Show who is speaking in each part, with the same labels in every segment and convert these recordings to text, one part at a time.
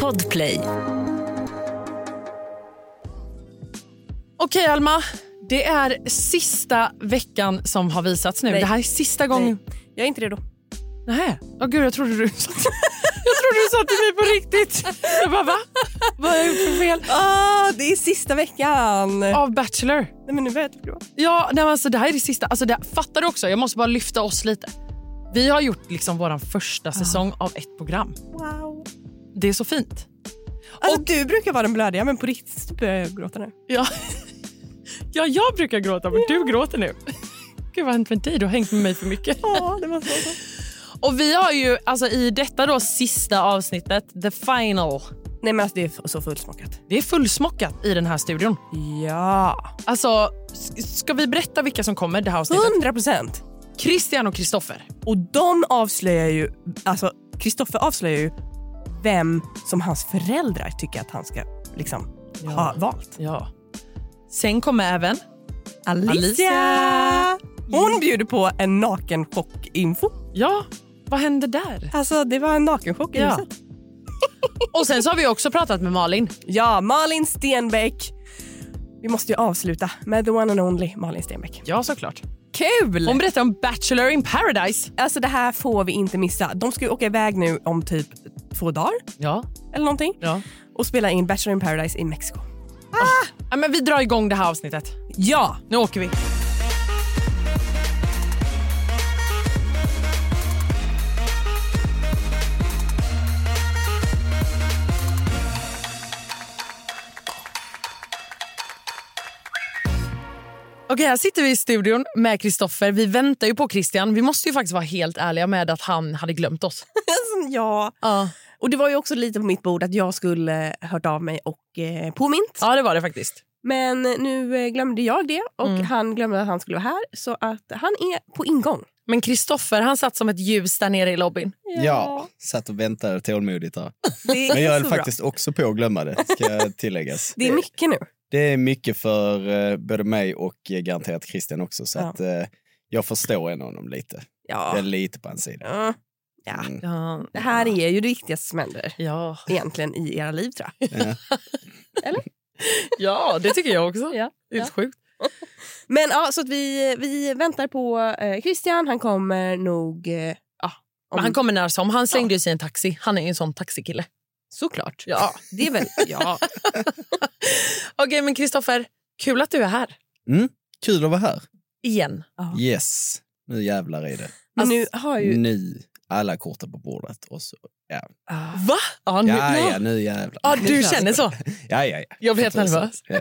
Speaker 1: Podplay.
Speaker 2: Okej Alma, det är sista veckan som har visats nu.
Speaker 3: Nej.
Speaker 2: Det här är sista gången.
Speaker 3: Jag är inte redo.
Speaker 2: Nej. Åh gud, jag trodde du jag trodde du sa till mig på riktigt. Jag bara va? Vad har jag gjort för fel?
Speaker 3: Ah, det är sista veckan!
Speaker 2: Av Bachelor.
Speaker 3: Nej, men nu börjar jag typ gråta.
Speaker 2: Ja, nej, men alltså, det här är det sista. Alltså, det, fattar du också? Jag måste bara lyfta oss lite. Vi har gjort liksom vår första säsong av ett program.
Speaker 3: Wow.
Speaker 2: Det är så fint.
Speaker 3: Alltså, du brukar vara den blödiga, men på riktigt så börjar jag gråta nu.
Speaker 2: Ja, ja jag brukar gråta, men du gråter nu. Gud, vad har hänt med dig? Du har hängt med mig för mycket.
Speaker 3: Ja, det var så. så.
Speaker 2: Och vi har ju alltså, i detta då sista avsnittet, the final.
Speaker 3: Nej, men alltså, det är så fullsmockat.
Speaker 2: Det är fullsmockat i den här studion.
Speaker 3: Ja.
Speaker 2: Alltså, s- ska vi berätta vilka som kommer det här avsnittet?
Speaker 3: 100 procent.
Speaker 2: Mm. Christian och Kristoffer.
Speaker 3: Och de avslöjar ju... Alltså, Kristoffer avslöjar ju vem som hans föräldrar tycker att han ska liksom ha valt.
Speaker 2: Ja. Sen kommer även... Alicia.
Speaker 3: Alicia! Hon bjuder på en nakenchock-info.
Speaker 2: Ja, vad händer där?
Speaker 3: Alltså, det var en nakenchock i
Speaker 2: Ja.
Speaker 3: huset.
Speaker 2: Och sen så har vi också pratat med Malin.
Speaker 3: Ja, Malin Stenbeck. Vi måste ju avsluta med the one and only Malin Stenbeck.
Speaker 2: Ja, såklart.
Speaker 3: Kul!
Speaker 2: Hon berättar om Bachelor in paradise.
Speaker 3: alltså det här får vi inte missa. De ska ju åka iväg nu om typ två dagar
Speaker 2: Ja.
Speaker 3: eller någonting
Speaker 2: ja.
Speaker 3: och spela in Bachelor in paradise i Mexiko.
Speaker 2: ja men vi drar igång det här avsnittet.
Speaker 3: Ja!
Speaker 2: Nu åker vi. Okej, här sitter vi i studion med Kristoffer. Vi väntar ju på Christian. Vi måste ju faktiskt vara helt ärliga med att han hade glömt oss.
Speaker 3: Alltså, ja.
Speaker 2: Ja,
Speaker 3: Och det var ju också lite på mitt bord att jag skulle eh, hört av mig och eh, påmint.
Speaker 2: ja det var det faktiskt.
Speaker 3: Men nu eh, glömde jag det och
Speaker 2: Mm.
Speaker 3: han glömde att han skulle vara här så att han är på ingång.
Speaker 2: Men Kristoffer, han satt som ett ljus där nere i lobbyn.
Speaker 4: Ja, satt och väntade tålmodigt här.
Speaker 3: Det är
Speaker 4: Men jag höll
Speaker 3: så bra.
Speaker 4: faktiskt också på att glömma det, ska tilläggas.
Speaker 3: Det är mycket nu.
Speaker 4: det är mycket för eh, både mig och eh, garanterat Christian också, så
Speaker 3: Ja.
Speaker 4: att eh, jag förstår en honom lite. Jag är
Speaker 3: Ja.
Speaker 4: lite på hans sida.
Speaker 3: Ja. ja.
Speaker 4: Mm.
Speaker 2: Ja,
Speaker 3: Det här är ju det viktigaste som händer.
Speaker 2: ja.
Speaker 3: egentligen i era liv tror jag.
Speaker 4: Ja.
Speaker 2: ja det tycker jag också.
Speaker 3: Ja.
Speaker 2: Det är helt sjukt.
Speaker 3: Men ja, så att vi, vi väntar på eh, Christian. Han kommer nog... Eh, ja, om-
Speaker 2: Men han kommer när som. Han slängde ju sig i en taxi. Han är ju en sån taxikille.
Speaker 3: Såklart.
Speaker 2: Ja.
Speaker 3: Det är väl... Ja.
Speaker 2: Okej, men Kristoffer, kul att du är här.
Speaker 4: Mm. Kul att vara här.
Speaker 2: Igen.
Speaker 3: Ja.
Speaker 4: Yes, nu jävlar är det.
Speaker 3: Men nu har ju...
Speaker 4: Nu, alla korten på bordet. Och så.
Speaker 3: Ah.
Speaker 2: Va? Ja, nu,
Speaker 4: Ja, ja, nu jävlar.
Speaker 2: Ja, du känner så.
Speaker 4: Ja, ja, ja.
Speaker 2: Jag blir helt nervös.
Speaker 4: Ja.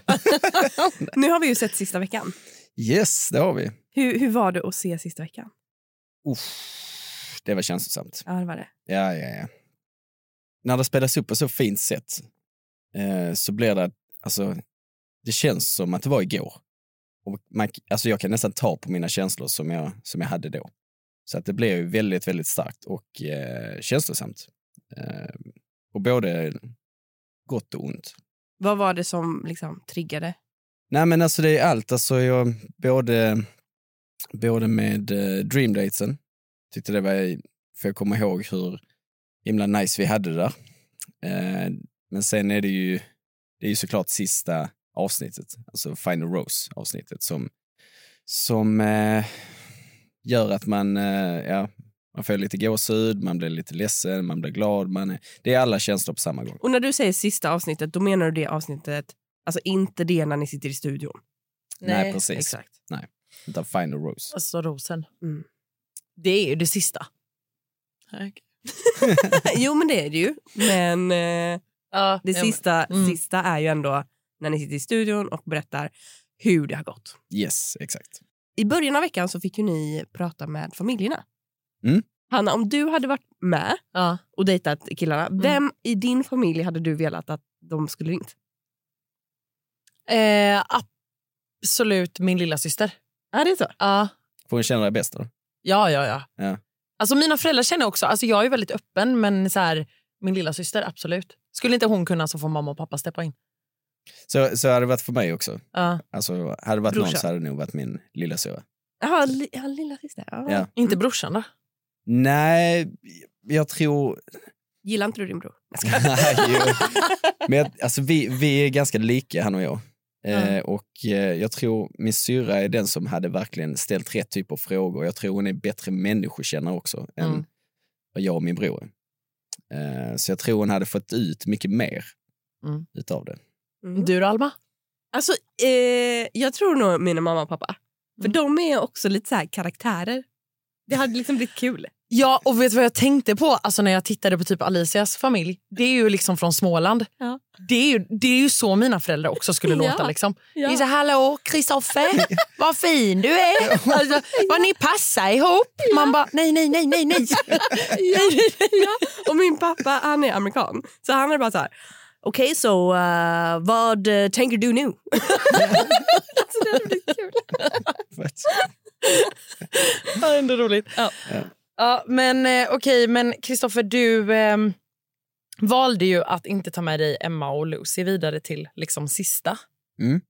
Speaker 3: Nu har vi ju sett sista veckan.
Speaker 4: Yes, det har vi.
Speaker 3: Hur, hur var det att se sista veckan?
Speaker 4: Uff, det var känslosamt.
Speaker 3: Ja, det var det.
Speaker 4: Ja, ja, ja. När det spelas upp på så fint sätt eh, så blir det, alltså, det känns som att det var igår. Och man, alltså jag kan nästan ta på mina känslor som jag, som jag hade då. Så att det blev ju väldigt, väldigt starkt och eh, känslosamt. Eh, och både gott och ont.
Speaker 3: Vad var det som liksom triggade?
Speaker 4: Nej men alltså det är allt. Alltså jag, både, både med eh, dreamdatesen, tyckte det var, för jag kommer ihåg hur himla nice vi hade det där. Eh, men sen är det ju, det är ju såklart sista avsnittet, alltså Final Rose avsnittet som, som eh, gör att man, eh, ja, man får lite gåshud, man blir lite ledsen, man blir glad, man är, det är alla känslor på samma gång.
Speaker 3: Och när du säger sista avsnittet, då menar du det avsnittet, alltså inte det när ni sitter i studion.
Speaker 4: Nej, precis.
Speaker 3: Exakt.
Speaker 4: Utan Final Rose.
Speaker 2: Alltså rosen.
Speaker 3: Mm.
Speaker 2: Det är ju det sista.
Speaker 3: jo, men det är det ju. Men eh,
Speaker 2: Ja,
Speaker 3: det
Speaker 2: ja, men-
Speaker 3: sista,
Speaker 2: Mm.
Speaker 3: sista är ju ändå när ni sitter i studion och berättar hur det har gått.
Speaker 4: Yes, exakt.
Speaker 3: I början av veckan så fick ju ni prata med familjerna.
Speaker 4: Mm.
Speaker 3: Hanna, om du hade varit med
Speaker 2: Ja.
Speaker 3: och dejtat killarna,
Speaker 2: Mm.
Speaker 3: vem i din familj hade du velat att de skulle ringt?
Speaker 2: Eh, absolut min lilla syster.
Speaker 3: Ja, det är så.
Speaker 2: Ja.
Speaker 4: Får hon känna dig bäst då?
Speaker 2: Ja, ja, ja.
Speaker 4: Ja.
Speaker 2: Alltså mina föräldrar känner också, alltså jag är väldigt öppen men så här, min lilla syster absolut. Skulle inte hon kunna så får mamma och pappa steppa in.
Speaker 4: Så, så hade det varit för mig också.
Speaker 2: Ja.
Speaker 4: Alltså, hade det varit någon
Speaker 3: Brorsa.
Speaker 4: så hade det nog varit min lilla syra.
Speaker 3: Ja, li, ja lilla syster. Ja.
Speaker 4: Ja.
Speaker 2: Inte brorsan då?
Speaker 4: Nej, jag tror...
Speaker 5: Gillar inte du din bror? Jag skojar.
Speaker 4: Nej, jo. Men jag, alltså, vi, vi är ganska lika, han och jag. Eh, Och eh, jag tror min syra är den som hade verkligen ställt rätt typ av frågor. Jag tror hon är bättre människokännare också än
Speaker 2: Mm.
Speaker 4: vad jag och min bror är. Eh, Så jag tror hon hade fått ut mycket mer
Speaker 2: Mm.
Speaker 4: utav det.
Speaker 5: Mm.
Speaker 2: Du då, Alma?
Speaker 3: Alltså, eh, jag tror nog mina mamma och pappa. För
Speaker 2: Mm.
Speaker 3: de är också lite så här karaktärer. Det hade liksom blivit kul.
Speaker 2: Ja, och vet du vad jag tänkte på alltså när jag tittade på typ Alicias familj? Det är ju liksom från Småland.
Speaker 3: Ja.
Speaker 2: Det, är ju, det är ju så mina föräldrar också skulle
Speaker 3: Ja.
Speaker 2: låta. Liksom.
Speaker 3: Ja.
Speaker 2: Det är så, Hallå, Kristoffer, vad fin du är. Alltså, vad ni passar ihop. Man bara, nej, nej, nej, nej, nej.
Speaker 3: ja. Och min pappa, han är amerikan. Så han är bara så här... Okej, så eh, vad eh, tänker du nu? alltså, det hade blivit kul.
Speaker 2: Ja, ändå roligt. Ja.
Speaker 4: Ja.
Speaker 2: Ja, men eh, okej, men Kristoffer, du ehm, valde ju att inte ta med dig Emma och Lucy vidare till liksom sista.
Speaker 4: Mm.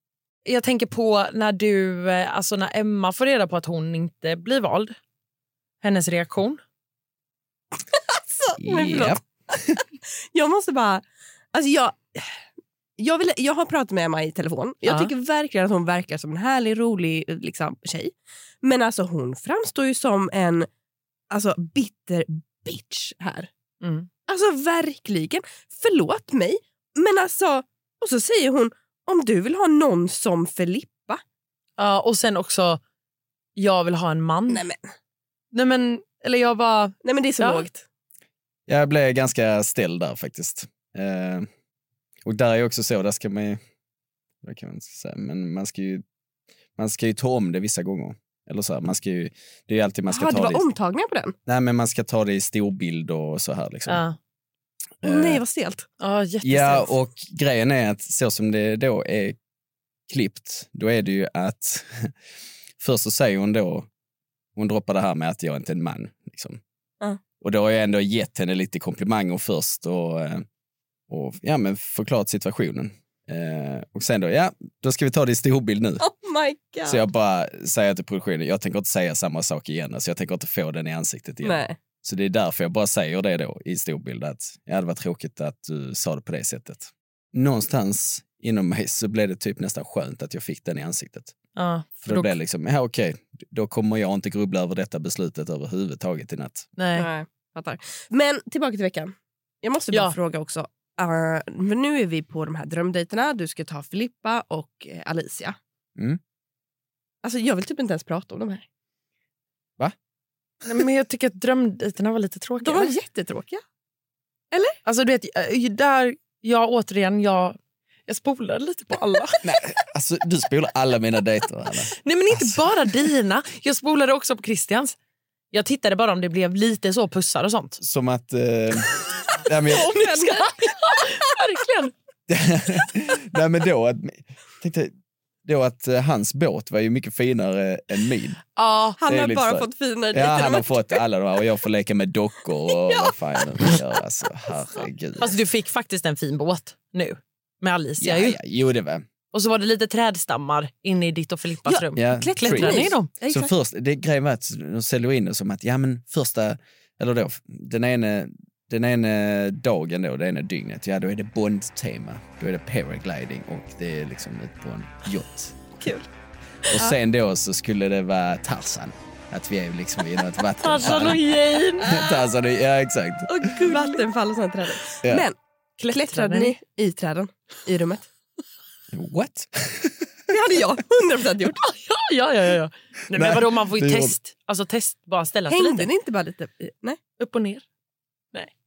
Speaker 2: Jag tänker på när du, eh, alltså när Emma får reda på att hon inte blir vald. Hennes reaktion.
Speaker 3: Så, men förlåt.
Speaker 4: Japp.
Speaker 3: Jag måste bara... Alltså jag, jag, vill, jag har pratat med Emma i telefon. Jag
Speaker 2: Ja.
Speaker 3: tycker verkligen att hon verkar som en härlig, rolig liksom, tjej. Men alltså hon framstår ju som en alltså, bitter bitch här.
Speaker 2: Mm.
Speaker 3: Alltså verkligen. Förlåt mig, men alltså... Och så säger hon, om du vill ha någon som Filippa.
Speaker 2: Ja, och sen också, jag vill ha en man.
Speaker 3: Nej men,
Speaker 2: Nej, men, eller jag bara,
Speaker 3: nej, men det är så
Speaker 2: Ja.
Speaker 3: lågt.
Speaker 4: Jag blev ganska ställd där faktiskt. Eh, och där är också så, där ska man ju, vad kan man säga, men man ska ju, man ska ju ta om det vissa gånger. Eller så här, man ska ju, det är ju alltid man ska
Speaker 3: Jaha, det
Speaker 4: ta det,
Speaker 3: var
Speaker 4: i,
Speaker 3: omtagningar på den?
Speaker 4: nej, men man ska ta det i storbild och så här. Liksom.
Speaker 2: ja.
Speaker 3: Åh,
Speaker 4: Eh,
Speaker 3: nej, vad stelt.
Speaker 2: Ja, jättestelt.
Speaker 4: ja, och grejen är att så som det då är klippt, då är det ju att först så säger hon då, hon droppar det här med att jag inte är en man. Liksom.
Speaker 3: Ja.
Speaker 4: Och då har jag ändå gett henne lite komplimanger först och, eh, och ja, men förklarat situationen. Eh, och sen då, ja, då ska vi ta det i storbild nu.
Speaker 3: Oh my god.
Speaker 4: Så jag bara säger till produktionen, jag tänker inte säga samma sak igen, så jag tänker inte få den i ansiktet igen.
Speaker 3: nej.
Speaker 4: Så det är därför jag bara säger det då i storbild att ja, det var tråkigt att du sa det på det sättet. Någonstans inom mig så blev det typ nästan skönt att jag fick den i ansiktet.
Speaker 2: Ja,
Speaker 4: För då, blev det liksom, ja okej, då kommer jag inte grubbla över detta beslutet överhuvudtaget i natt.
Speaker 2: nej.
Speaker 3: Nej, fattar. Men tillbaka till veckan. Jag måste bara
Speaker 2: Ja.
Speaker 3: fråga också. eh, men nu är vi på de här drömdejterna. Du ska ta Filippa och eh, Alicia.
Speaker 4: Mm.
Speaker 3: Alltså, jag vill typ inte ens prata om de här.
Speaker 2: Nej, men jag tycker att drömdejterna var lite tråkiga.
Speaker 3: De var jättetråkiga.
Speaker 2: Alltså du vet, eh, där jag återigen, jag, jag spolade lite på alla.
Speaker 4: Nej, alltså du spolar alla mina dejter. Anna.
Speaker 2: Nej men inte
Speaker 4: Alltså.
Speaker 2: bara dina, jag spolade också på Christians. Jag tittade bara om det blev lite så pussar och sånt.
Speaker 4: Som att... Eh, nej, men jag,
Speaker 2: Om jag ska... Verkligen.
Speaker 4: nej men då att, tänkte, då att eh, hans båt var ju mycket finare än min.
Speaker 2: Ja,
Speaker 3: Han
Speaker 4: Det är
Speaker 3: har
Speaker 4: lite
Speaker 3: bara
Speaker 4: så.
Speaker 3: fått fina dejter.
Speaker 4: Ja,
Speaker 3: De
Speaker 4: han
Speaker 3: var-
Speaker 4: har fått alla de här och jag får leka med dockor och vad fan jag nu gör. Alltså, herregud.
Speaker 2: fast Alltså, du fick faktiskt en fin båt nu. Med Alicia
Speaker 4: ja,
Speaker 2: ju.
Speaker 4: ja, jo, det var.
Speaker 2: Och så var det lite trädstammar inne i ditt och Filippas rum.
Speaker 4: Ja,
Speaker 2: Klättrade
Speaker 4: tree.
Speaker 2: ni i dem?
Speaker 4: Så
Speaker 3: Exakt.
Speaker 4: först, det grejen var att de säljer in det som att ja, men första, eller då, den ene, den ene dagen då, det ena dygnet, ja då är det Bond-tema. Då är det paragliding och det är liksom ut på en yacht.
Speaker 3: Kul.
Speaker 4: Och sen då så skulle det vara Tarzan. Att vi är liksom i något vatten.
Speaker 2: Tarzan Alltså, och Jane.
Speaker 4: Tarzan och, ja exakt.
Speaker 3: Och gulligt. Vattenfall och sådana träd.
Speaker 4: Ja.
Speaker 3: Men
Speaker 2: Klättrade
Speaker 3: klättrade
Speaker 2: ni?
Speaker 3: ni i träden i rummet?
Speaker 4: What?
Speaker 3: Det hade jag 100% gjort.
Speaker 2: Ja, ja, ja. ja. Nej, men
Speaker 4: Nej,
Speaker 2: vadå, man får ju
Speaker 4: det gjorde-
Speaker 2: test. Alltså test, bara ställa sig
Speaker 3: Hängde
Speaker 2: lite.
Speaker 3: ni inte bara lite? i- Nej.
Speaker 2: Upp och ner.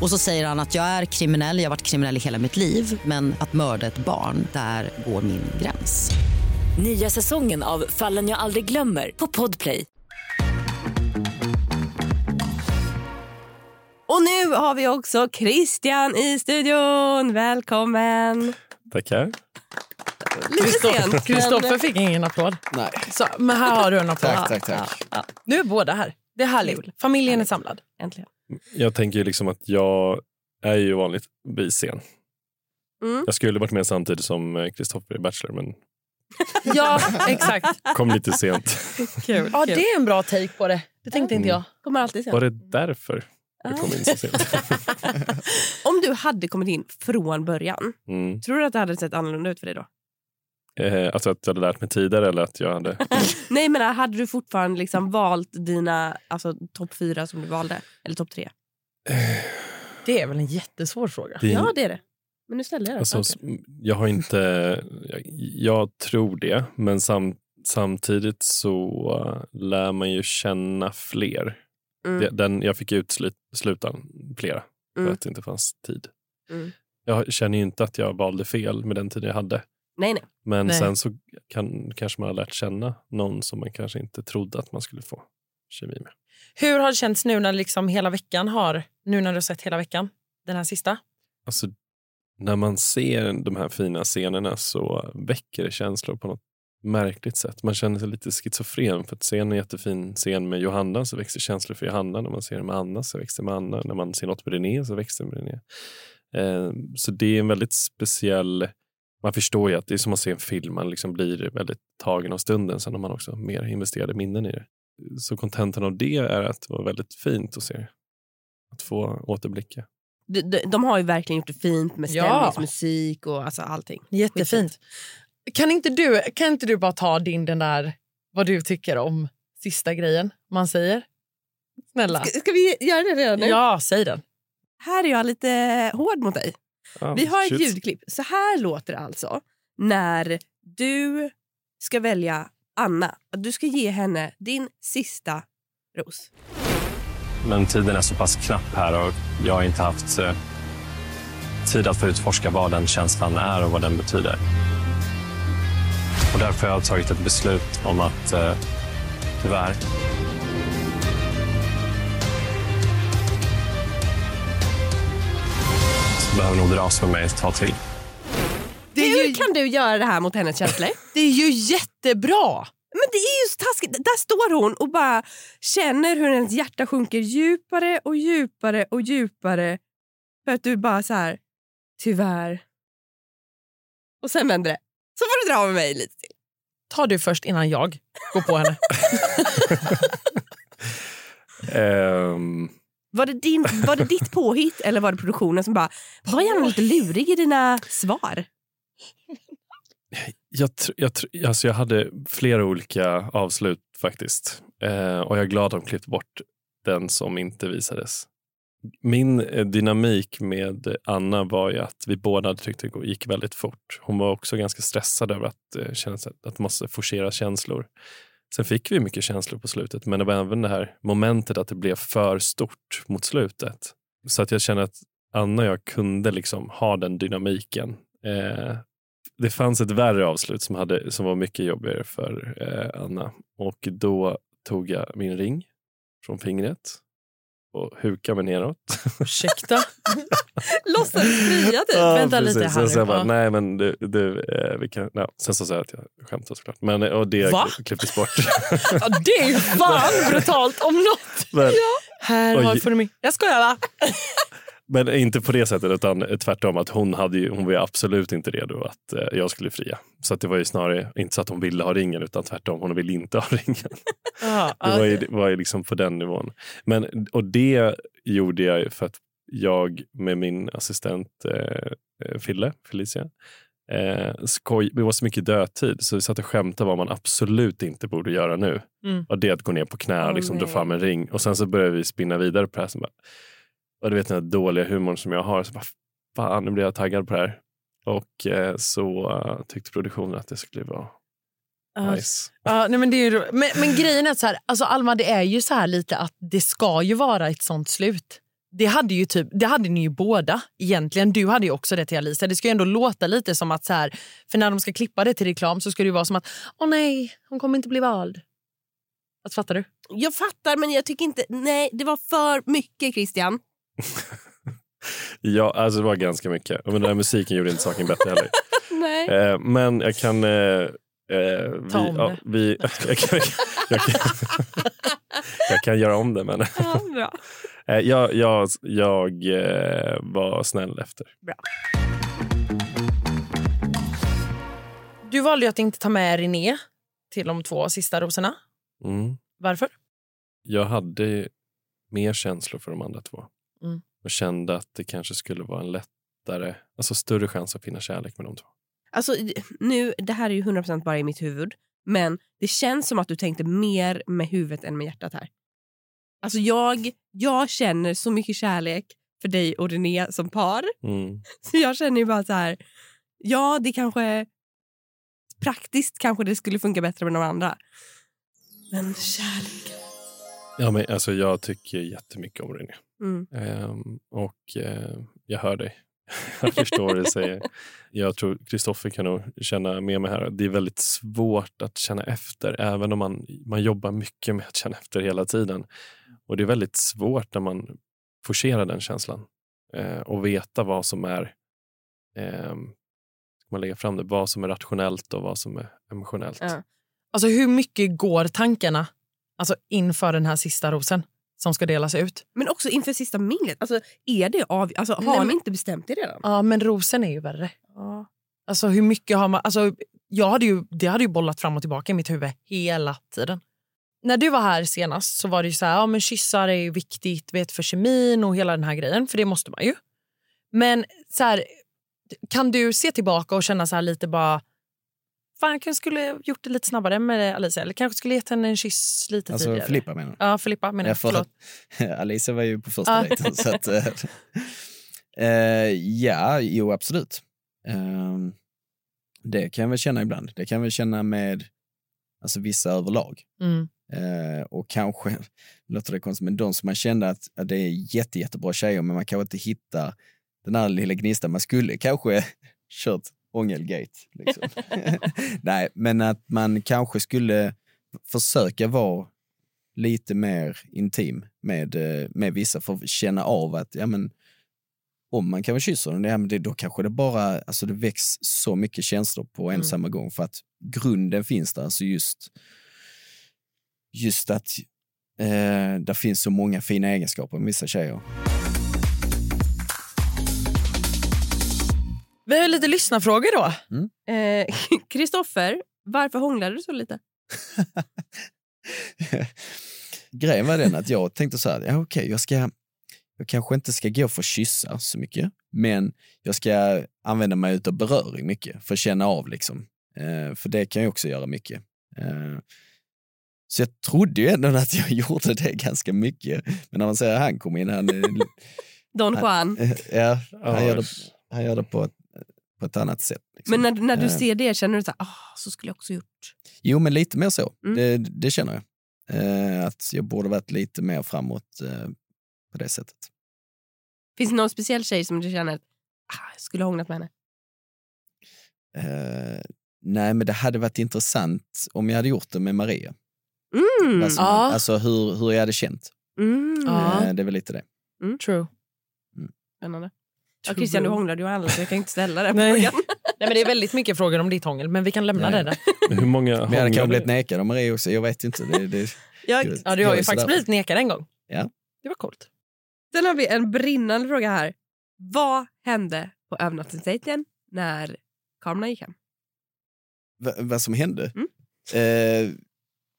Speaker 6: Och så säger han att jag är kriminell, jag har varit kriminell i hela mitt liv men att mörda ett barn, där går min gräns.
Speaker 7: Nya säsongen av Fallen jag aldrig glömmer på Podplay.
Speaker 3: Och nu har vi också Christian i studion. Välkommen!
Speaker 8: Tackar.
Speaker 3: Lite sent.
Speaker 2: Kristoffer fick ingen applåd.
Speaker 4: Nej.
Speaker 2: Så, men här har du en applåd.
Speaker 4: Tack, tack, tack.
Speaker 2: Nu är båda här. Det är härligt. Familjen är samlad.
Speaker 3: Äntligen.
Speaker 8: Jag tänker ju liksom att jag är ju vanligtvis sen.
Speaker 3: Mm.
Speaker 8: Jag skulle varit med samtidigt som eh, Kristoffer i Bachelor men
Speaker 2: Ja, exakt.
Speaker 8: kom lite sent.
Speaker 3: Kul.
Speaker 2: Ja, det är en bra take på det. Det tänkte inte jag.
Speaker 3: Kommer alltid
Speaker 8: Var
Speaker 3: sent.
Speaker 8: det därför jag kom in så sent?
Speaker 3: Om du hade kommit in från början,
Speaker 8: Mm.
Speaker 3: tror du att det hade sett annorlunda ut för dig då?
Speaker 8: Eh, alltså att jag hade lärt mig tidigare eller att jag hade...
Speaker 3: Nej, men hade du fortfarande liksom valt dina alltså, topp fyra som du valde? Eller topp tre?
Speaker 2: Det är väl en jättesvår fråga.
Speaker 8: Det är-
Speaker 3: Ja, det är det. Men nu ställer jag den.
Speaker 8: Alltså,
Speaker 3: Okej.
Speaker 8: s- jag har inte... Jag, jag tror det, men sam, samtidigt så eh, lär man ju känna fler.
Speaker 3: Mm.
Speaker 8: Det- Den, jag fick utesluta flera för
Speaker 3: Mm.
Speaker 8: att det inte fanns tid.
Speaker 3: Mm.
Speaker 8: Jag känner ju inte att jag valde fel med den tiden jag hade.
Speaker 3: Nej, nej.
Speaker 8: Men
Speaker 2: Nej.
Speaker 8: sen så kan, kanske man har lärt känna någon som man kanske inte trodde att man skulle få kemi med.
Speaker 2: Hur har det känts nu när liksom hela veckan har... Nu när du har sett hela veckan? Den här sista?
Speaker 8: Alltså, när man ser de här fina scenerna så väcker det känslor på något märkligt sätt. Man känner sig lite schizofren för att se en jättefin scen med Johanna så växer känslor för Johanna. När man ser den med Anna så växer det med Anna. När man ser något med René så växer det med René. Eh, så det är en väldigt speciell... Man förstår ju att det är som att se en film. Man liksom blir väldigt tagen av stunden. Sen har man också mer investerade minnen i det. Så kontentan av det är att det var väldigt fint att se det. Att få återblicka.
Speaker 3: De, de, de har ju verkligen gjort det fint med
Speaker 2: Ja.
Speaker 3: stämningsmusik och alltså, allting.
Speaker 2: Jättefint. Kan inte, du, kan inte du bara ta din den där... Vad du tycker om sista grejen man säger? Snälla.
Speaker 3: Ska, ska vi göra det redan nu?
Speaker 2: Ja, säg den.
Speaker 3: Här är jag lite hård mot dig.
Speaker 8: Ah,
Speaker 3: Vi har ett
Speaker 8: shit.
Speaker 3: ljudklipp. Så här låter det alltså när du ska välja Anna. Du ska ge henne din sista ros.
Speaker 9: Men tiden är så pass knapp här och jag har inte haft eh, tid att få utforska vad den känslan är och vad den betyder. Och därför har jag tagit ett beslut om att eh, tyvärr så behöver nog dras med mig ett tag till.
Speaker 2: Det är
Speaker 3: Hur
Speaker 2: ju,
Speaker 3: kan du göra det här mot hennes känslor?
Speaker 2: det är ju jättebra!
Speaker 3: Men det är ju så taskigt. Där står hon och bara känner hur hennes hjärta sjunker djupare och djupare och djupare. För att du bara så här, tyvärr. Och sen vänder det. Så får du dra med mig lite till.
Speaker 2: Ta du först innan jag går på henne.
Speaker 8: Ehm,
Speaker 3: Var det, din, var det ditt påhitt eller var det produktionen som bara, var gärna lite lurig i dina svar?
Speaker 8: jag, tr- jag, tr- alltså jag hade flera olika avslut faktiskt. Eh, och jag är glad att de klippte bort den som inte visades. Min eh, dynamik med Anna var ju att vi båda tyckte det gick väldigt fort. Hon var också ganska stressad över att, eh, känna sig- att måste forcera känslor. Sen fick vi mycket känslor på slutet, men det var även det här momentet att det blev för stort mot slutet. Så att jag känner att Anna och jag kunde liksom ha den dynamiken. Eh, det fanns ett värre avslut som, hade, som var mycket jobbigare för eh, Anna. Och då tog jag min ring från fingret och hukade mig neråt.
Speaker 2: Ursäkta?
Speaker 3: Låtsades fria typ.
Speaker 8: Ja,
Speaker 2: vänta lite
Speaker 8: precis.
Speaker 2: här
Speaker 8: Sen så
Speaker 2: nu.
Speaker 8: jag bara,
Speaker 2: Ja.
Speaker 8: nej men du, du eh, vi kan... No. Sen så sa jag att jag skämtade såklart. Men, eh, och det
Speaker 2: Va?
Speaker 8: klipptes bort.
Speaker 2: Ja, det är ju fan brutalt om något.
Speaker 8: men,
Speaker 2: Här
Speaker 8: Oj.
Speaker 2: har du min... Jag skojar va?
Speaker 8: men inte på det sättet utan eh, tvärtom att hon, hade ju, hon var ju absolut inte redo att eh, jag skulle fria. Så att det var ju snarare inte så att hon ville ha ringen utan tvärtom, hon ville inte ha ringen.
Speaker 2: Ja,
Speaker 8: Det var ju, var ju liksom på den nivån. Men, och det gjorde jag ju för att jag med min assistent eh, eh, Fille, Felicia, eh, skoj, det var så mycket dödtid så vi satt och skämtade vad man absolut inte borde göra nu.
Speaker 2: Mm.
Speaker 8: Och det är att gå ner på knä och
Speaker 3: Åh,
Speaker 8: liksom dra
Speaker 3: nej.
Speaker 8: fram en ring. Och sen så började vi spinna vidare på det här. Som bara, och du vet den här dåliga humorn som jag har. Så bara, fan, nu blir jag taggad på det här. Och eh, så eh, tyckte produktionen att det skulle vara
Speaker 2: Ja,
Speaker 8: nice.
Speaker 2: Ja, nej, men, det är ju ro- men, men grejen är att så här, alltså Alma, det är ju så här lite att det ska ju vara ett sånt slut. Det hade, ju typ, det hade ni ju båda egentligen. Du hade ju också det till Alisa. Det ska ju ändå låta lite som att så här, för när de ska klippa det till reklam så ska det ju vara som att åh nej, hon kommer inte bli vald. Alltså, fattar du?
Speaker 3: Jag fattar men jag tycker inte, nej det var för mycket Christian.
Speaker 8: Ja, alltså det var ganska mycket. Men den här musiken gjorde inte saken bättre heller.
Speaker 3: Nej.
Speaker 8: Eh, men jag kan... Eh, eh, vi,
Speaker 2: Ta om
Speaker 8: ja,
Speaker 2: det.
Speaker 8: vi, jag, kan, jag, kan, jag kan göra om det, men...
Speaker 3: Ja, bra.
Speaker 8: Eh, jag, jag, jag eh, var snäll efter.
Speaker 2: Du valde ju att inte ta med René till de två sista rosorna.
Speaker 8: Mm.
Speaker 2: Varför?
Speaker 8: Jag hade mer känslor för de andra två
Speaker 2: Mm.
Speaker 8: och kände att det kanske skulle vara en lättare, alltså större chans att finna kärlek med de två.
Speaker 3: Alltså, nu, det här är ju 100% bara i mitt huvud, men det känns som att du tänkte mer med huvudet än med hjärtat här. Alltså jag, jag känner så mycket kärlek för dig och René som par.
Speaker 8: Mm.
Speaker 3: Så jag känner ju bara så här, ja det kanske, praktiskt kanske det skulle funka bättre med de andra. Men kärlek.
Speaker 8: Ja, men alltså, jag tycker jättemycket om René.
Speaker 3: Mm.
Speaker 8: Ehm, och eh, jag hör dig. Jag förstår det du säger. Jag tror Kristoffer kan nog känna med mig här. Det är väldigt svårt att känna efter, även om man, man jobbar mycket med att känna efter hela tiden. Och det är väldigt svårt när man forcerar den känslan eh, och veta vad som är ehm, ska man lägga fram det, vad som är rationellt och vad som är emotionellt.
Speaker 3: Ja.
Speaker 2: Alltså hur mycket går tankarna alltså inför den här sista rosen som ska delas ut?
Speaker 3: Men också inför sista minglet, alltså, är det av, alltså, har
Speaker 2: Nej,
Speaker 3: ni
Speaker 2: men-
Speaker 3: inte bestämt er redan?
Speaker 2: Ja, men rosen är ju värre.
Speaker 3: Ja.
Speaker 2: Alltså hur mycket har man... Alltså, jag hade ju, det hade ju bollat fram och tillbaka i mitt huvud hela tiden. När du var här senast så var det ju så här, ja men kyssar är ju viktigt vet, för kemin och hela den här grejen, för det måste man ju. Men så här, kan du se tillbaka och känna så här lite bara, fan jag kanske skulle ha gjort det lite snabbare med Alicia, eller kanske skulle gett henne en kyss lite
Speaker 4: Alltså
Speaker 2: tidigare.
Speaker 4: Filippa menar du?
Speaker 2: Ja, Filippa menar
Speaker 4: Ja,
Speaker 2: jag.
Speaker 4: för
Speaker 2: Förlåt.
Speaker 4: att- Alicia var ju
Speaker 2: Ja.
Speaker 4: på första dejten. så att, eh, eh, ja, jo absolut. Ehm, det kan jag väl känna ibland. Det kan jag väl känna med alltså, vissa överlag.
Speaker 2: Mm.
Speaker 4: Eh, och kanske, låter det konstigt, men de som man kände att, att det är jätte, jättebra tjejer men man kanske inte hittar den här lilla gnistan. Man skulle kanske kört ångelgate. Liksom. Nej, men att man kanske skulle försöka vara lite mer intim med, eh, med vissa för att känna av att ja, men, om man kan väl kyssa den, ja, men det, då kanske det bara alltså det väcks så mycket känslor på en och
Speaker 2: Mm.
Speaker 4: samma gång för att grunden finns där. Alltså just just att eh, där finns så många fina egenskaper med vissa tjejer.
Speaker 2: Vi har ju lite lyssnarfrågor då.
Speaker 3: Eh, Kristoffer, varför hånglade du så lite?
Speaker 4: Grejen var den att jag tänkte så här, ja, okej, jag ska jag kanske inte ska gå för kyssar så mycket, men jag ska använda mig av beröring mycket för att känna av liksom. Eh, för det kan jag också göra mycket. Eh, så jag trodde ju ändå att jag gjorde det ganska mycket. Men när man säger han kom in, han, eh,
Speaker 3: Don Juan.
Speaker 4: eh, ja, han, gör det,
Speaker 8: Oj.
Speaker 4: han gör det på ett, på ett annat sätt. liksom.
Speaker 3: Men när, när du
Speaker 4: Eh.
Speaker 3: ser det, känner du så här, ah, så skulle jag också gjort?
Speaker 4: Jo, men lite mer så.
Speaker 3: Mm.
Speaker 4: Det, det känner jag. Eh, att jag borde varit lite mer framåt eh, på det sättet.
Speaker 3: Finns det någon speciell tjej som du känner att ah, jag skulle ha hånglat med henne?
Speaker 4: Eh, nej, men det hade varit intressant om jag hade gjort det med Maria.
Speaker 3: Mm.
Speaker 4: Alltså,
Speaker 2: Ja.
Speaker 4: alltså hur, hur jag hade känt.
Speaker 3: Mm.
Speaker 2: Ja.
Speaker 4: Eh, det är väl lite det.
Speaker 2: True.
Speaker 3: Spännande. Ja, Christian, du hånglade ju aldrig så jag kan inte ställa den
Speaker 2: Nej.
Speaker 3: frågan.
Speaker 2: Nej, men det är väldigt mycket frågor om ditt hångel, men vi kan lämna
Speaker 4: Nej.
Speaker 2: det där.
Speaker 8: Hur många
Speaker 4: Men jag hade
Speaker 8: hånglade-
Speaker 4: kanske blivit nekad av Maria också. Jag vet inte. Det, det,
Speaker 3: Jag,
Speaker 2: Ja, du har
Speaker 4: Jag
Speaker 2: ju
Speaker 4: är
Speaker 2: faktiskt
Speaker 4: sådär.
Speaker 2: blivit nekad en gång.
Speaker 4: Ja.
Speaker 2: Det var coolt.
Speaker 3: sen har vi en brinnande fråga här. Vad hände på övernattningsdejten när kamerorna gick hem?
Speaker 4: va- vad som hände?
Speaker 3: Mm.
Speaker 4: Eh,